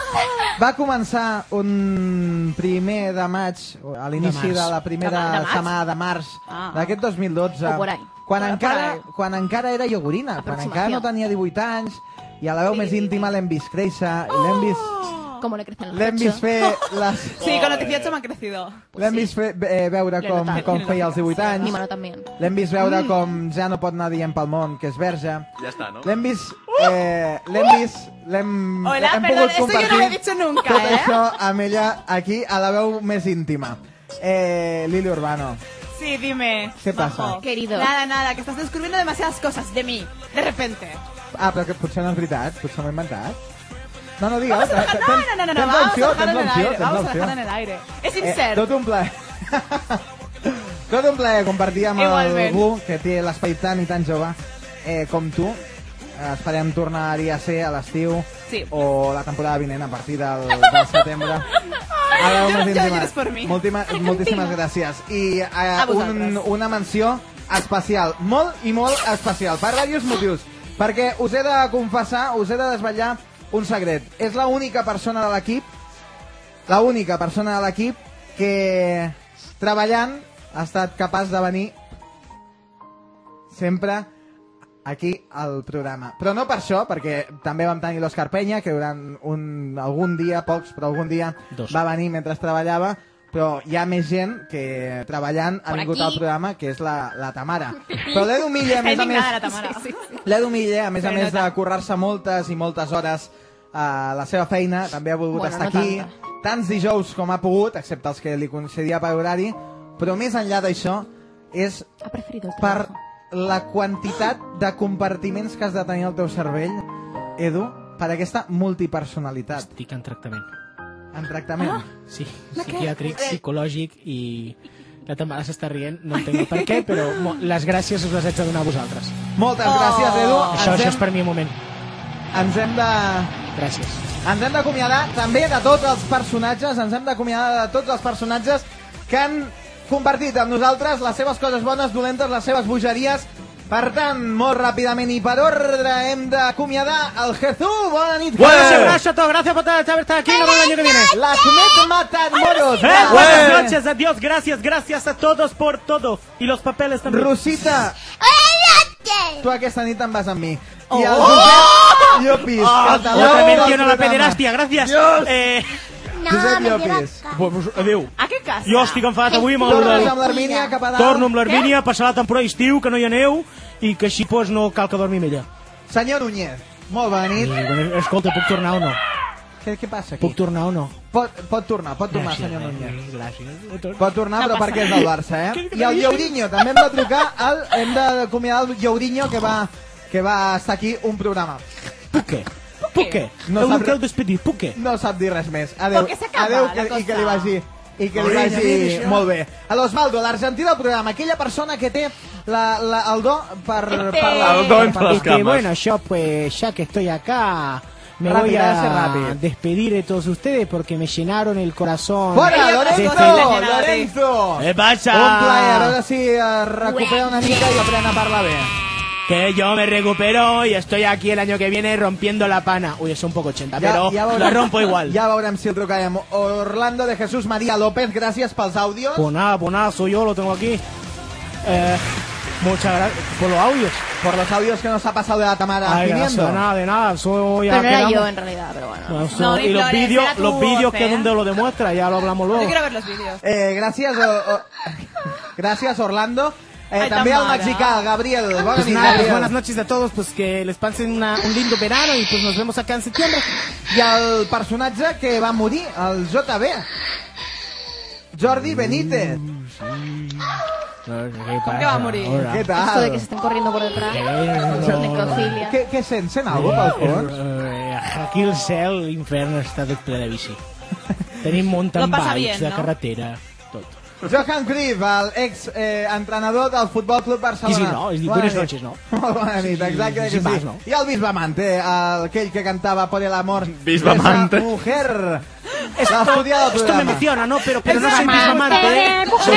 va començar un primer de maig, a l'inici
De
de,
març.
la primera
De ma- de març?
setmana de març
Ah.
d'aquest 2012,
O por ahí.
quan,
Por-
encara,
por ahí.
quan encara era iogurina, quan
Aproximació.
encara no tenia 18 anys, i a la veu més íntima l'hem vist créixer, i
Oh.
l'hem vist,
Como le crecen los
l'hem vist
pechos.
fer les...
Sí, con los 18 me han crecido.
L'hem vist fer, eh, veure
L'he
com,
notat.
com feia als 18
Mi
anys,
mano también.
l'hem vist veure
Mm.
com ja no pot anar dient pel món que és verge,
Ya está, ¿no?
l'hem vist... Eh, l'hem vist... L'hem,
Uh! Hola,
hem pogut
perdón, esto yo no lo he
compartir-
dicho nunca,
tot
¿eh?
això amb ella aquí a la veu més íntima. Eh, Lili Urbano.
Sí, dime.
¿Qué pasa?
Majo.
Querido.
Nada, nada, que estás descubriendo demasiadas cosas de mí, de repente.
Ah, però que potser no és veritat, potser m'ho he inventat. No, no digues. eh,
Vamos a dejar... No, no, no, no, no,
Tens
vamos
l'opció,
a dejarlo
tens
en el
l'opció,
aire,
tens
vamos a
l'opció.
dejarlo en el aire. Es
Eh,
insert.
tot un plaer. tot un plaer compartir amb
Igualment.
algú que té l'espai tan i tan jove eh, com tu. Eh, Esperem tornar-hi a ser a l'estiu
Sí.
o la temporada vinent a partir del, del setembre.
Ay,
Ara,
ya-
unes
ya
íntimes.
llores por mí.
Moltima- moltíssimes gràcies. I eh, un,
vosaltres.
una menció especial, molt i molt especial, per diversos motius. Perquè us he de confessar, us he de desvetllar un secret. És l'única persona de l'equip, l'única persona de l'equip que treballant ha estat capaç de venir sempre aquí al programa. Però no per això, perquè també vam tenir l'Òscar Penya, que durant un, algun dia, pocs, però algun dia
Dos.
va venir mentre treballava, però hi ha més gent que treballant ha
Por
vingut
aquí.
al programa, que és la, la Tamara. Però l'Edu Milla, a
Está
més a
indignada la
més,
Tamara.
l'Edu Milla, a més a
Però no
més de currar-se moltes i moltes hores eh, a la seva feina, també ha volgut
Bueno,
estar
no
aquí
tanta.
tants dijous com ha pogut, excepte els que li concedia per horari, però més enllà d'això, és
Ha preferido el
per
trabajo.
la quantitat de compartiments que has de tenir al teu cervell, Edu, per aquesta multipersonalitat
Estic en tractament.
en
Ah.
tractament.
Sí, psiquiàtric, psicològic i... La Tamara s'està rient, no entenc el per què, però mo- les gràcies us les haig de donar a vosaltres.
Moltes gràcies, Edu.
Oh. Això,
ens,
això és
hem,
per mi un moment.
ens hem de...
Gràcies.
Ens hem d'acomiadar també de tots els personatges, ens hem d'acomiadar de tots els personatges que han compartit amb nosaltres les seves coses bones, dolentes, les seves bogeries. Per tant, molt ràpidament i per ordre, hem d'acomiadar el Jesús. Bona nit.
Bueno, un
Jesús.
abrazo a todos. Gracias por haber estado aquí. Nos vemos el año que viene.
La Kmet mata moros.
Eh, Buenas noches. Adiós. Gracias. Gracias a todos por todo. Y los papeles también.
Rosita,
¡Hola a
Tu aquesta nit te'n vas amb mi.
Oh!
I el
Oh!
Josep Llopis,
Ah,
català
otra
del
mención a la
programa.
pederastia, gracias.
tota Dios!
Eh...
No, Josep me Llopis. lleva
Pues, adéu.
A què casa?
Jo estic enfadat avui amb el
Tornes
Dorado.
amb l'Armínia cap a dalt.
Torno amb l'Armínia, passarà la temporada d'estiu, que no hi ha neu, i que així pues, no cal que dormi amb ella.
Senyor Núñez, molt bona nit.
Escolta, puc tornar o no?
Què, què passa aquí?
Puc Eh, tornar o no?
Pot, pot tornar, pot tornar, senyor Núñez. Pot tornar,
No
però
passa
perquè és del
res.
Barça, eh?
Què
I el
dius?
Llaurinho, també hem de trucar, el, hem d'acomiadar el Llaurinho, que va, que va estar aquí un programa.
Puc què? Puc què?
No
No
sap
sap res. despedir, puc què?
No sap dir res més. Adéu,
Perquè s'acaba
adéu
la
que, i que
cosa.
li vagi i que li
Molt bé, ja ve,
vagi
això.
molt bé. A l'Osvaldo, l'argentí del programa, aquella persona que té la, la, el do per... per la,
El do entre
per-
les
Este,
camas.
bueno, yo pues ya que estoy acá, me
Rápido,
voy
hace
a
rápido.
despedir de todos ustedes porque me llenaron el corazón. Este,
Fora,
de
Lorenzo!
fel-
Lorenzo!
Què passa?
Un plaer, a veure si eh, recupera una mica i aprèn a parlar bé.
Que yo me recupero y estoy aquí el año que viene rompiendo la pana. Uy, eso un poco 80, pero la rompo igual.
Ja veurem si el trucarem. Orlando de Jesús María López, gràcies pels àudios.
Pues nada, pues nada, soy yo, lo tengo aquí. Eh, muchas gracias por los audios.
Por los audios que nos ha pasado de la Tamara
Ay, gracias,
pidiendo.
de nada, de nada, soy
Pero no era
quedamos.
yo en realidad, pero bueno.
Bueno, so-
No,
y los
Flores, era
vídeos,
tu
los
voz,
vídeos que
¿eh?
es donde lo demuestra, ya lo hablamos luego.
ver los vídeos.
Eh, gràcies, o, o... gràcies Orlando. Eh,
Ay,
també al
Tamara.
mexicà, Gabriel. Bona
Pues
nit,
nada, pues buenas
Gabriel.
noches a todos, pues que les pasen una- un lindo verano y pues nos vemos acá en septiembre.
I el personatge que va morir, el JB. Jordi Benítez.
Mm. ¿Con
qué va a morir? ¿Qué tal?
Esto de que se estén corriendo por detrás. Necrofilia.
Què, què sent? Sent alguna cosa, pel fons?
Aquí el cel, l'infern està tot ple de bici. Tenim mountain
Lo passa
bikes
bien,
de
no?
carretera, tot.
Johan Cruyff, el ex eh, entrenador del Futbol Club Barcelona.
I si no, és dir,
Bona
buenas
nit.
noches, no?
Molt bona nit, exacte
Sí,
que
vas,
sí.
no?
I el Bisbe Mante, el- aquell que cantava Por el amor.
Bisbe
de esa
Mante.
Mujer.
Esto-
L'ha estudiado el
Ah, esto
programa.
me emociona, ¿no? Pero- pero no
Es
soy Bisbamante,
Bisbamante,
¿eh?
mujer.
Soy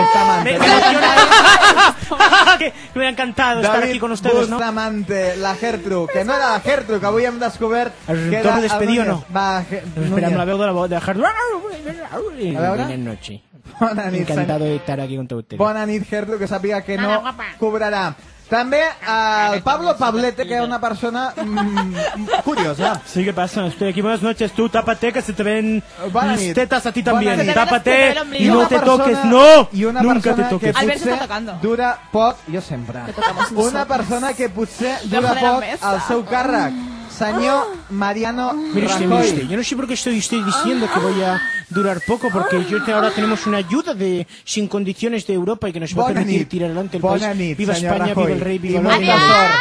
Bustamante. Me- me emociona. que me ha encantado estar
David
aquí con ustedes, ¿no?
Bustamante, la Gertrude, que no era la Gertrude, que avui hem descobert que era
retorn despedí o
el Núñez.
no?
Va, Ge-
Espera, me la
Núñez.
veo de la voz de Hard
A veure?
Buenas noches.
Bona nit,
Encantado de estar aquí con todos ustedes.
Bona nit, Gertrude, que sàpiga que no cobrarà. També
Ah,
eh, el Pablo Pablete, que era una persona mm, curiosa.
Sí, ¿qué pasa? Estoy aquí. Buenas noches. Tú tápate, que se te ven
Buenas
mis
nit.
tetas a ti
Buenas
también.
nit.
Tápate y no
una
te
persona-
toques. ¡No!
I una
Nunca te
persona
toques.
Que
Albert està
potser
tocando.
dura poc, jo sempre. Una persona que potser dura
Dejo de la
poc
mesa.
al seu càrrec. Senyor Mariano
Mire usted, mire usted,
Rajoy.
este, yo no sé por qué estoy, estoy diciendo que voy a durar poco, porque yo te- ahora tenemos una ayuda de sin condiciones de Europa y que nos va a
Bona
permitir
nit.
tirar adelante el
Bona
país.
nit,
viva
senyor
España,
Rajoy.
viva el rey, viva
I
el
molta sort,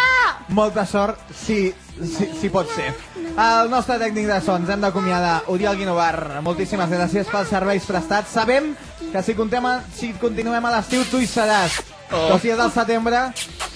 molta sort, si, si, si pot ser. El nostre tècnic de sons, hem d'acomiadar, Oriol Guinovar. Moltíssimes gràcies pels serveis prestats. Sabem que si, contem a, si continuem a l'estiu, tu hi seràs. Oh. O si és al setembre,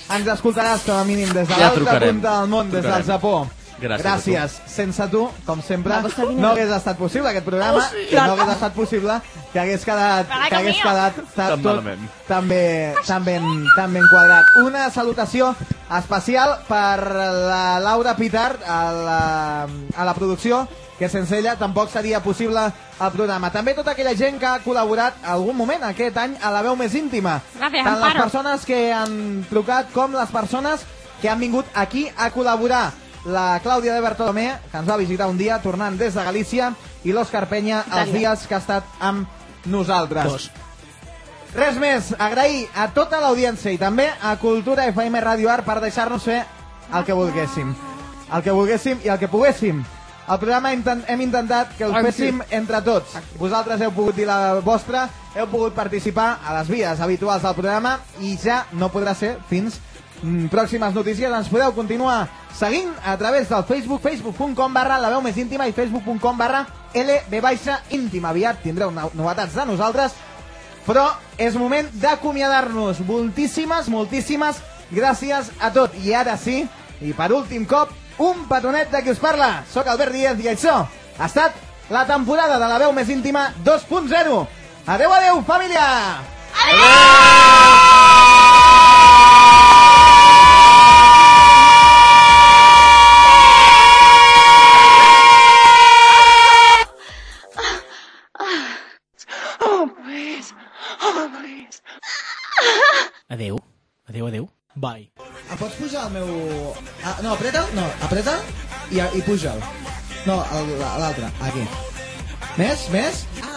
ens escoltaràs com a mínim des de
Ja
l'altra
trucarem.
punta del món, des del
Trucarem.
Japó.
Gràcies a
Gràcies. Sense tu, com sempre, no hagués estat possible aquest programa,
Oh, sí.
i no hagués estat possible que hagués quedat,
Ai,
que
Déu
hagués
meu.
quedat ta-
Tan
tot,
malament.
tan bé, tan ben, tan ben quadrat. Una salutació especial per la Laura Pitar a la, a la producció, que sense ella tampoc seria possible el programa. També tota aquella gent que ha col·laborat algun moment aquest any a la veu més íntima.
Gràcies,
Tant les
Amparo.
persones que han trucat com les persones que han vingut aquí a col·laborar. La Clàudia de Bertolomé, que ens va visitar un dia tornant des de Galícia, i l'Òscar Penya els
Itàlia.
dies que ha estat amb nosaltres. Res més, agrair a tota l'audiència i també a Cultura FM Radio Art per deixar-nos fer el que volguéssim. El que volguéssim i el que poguéssim. El programa inten hem intentat que el
Amb
féssim entre tots. Vosaltres heu pogut dir la vostra, heu pogut participar a les vies habituals del programa i ja no podrà ser fins mm, pròximes notícies. Ens podeu continuar seguint a través del Facebook, facebook.com barra la veu més íntima i facebook.com barra lb baixa íntima. Aviat tindreu nou- novetats de nosaltres però és moment d'acomiadar-nos. Moltíssimes, moltíssimes gràcies a tot. I ara sí, i per últim cop, un petonet de qui us parla. Soc Albert Díaz i això ha estat la temporada de la veu més íntima 2.0. Adeu, adeu, família!
Adeu. Adeu, adeu.
Bye.
Em pots pujar el meu... Ah, no, apreta, no, apreta i, i puja'l. No, el- l'altre, aquí. Més, més? Ah,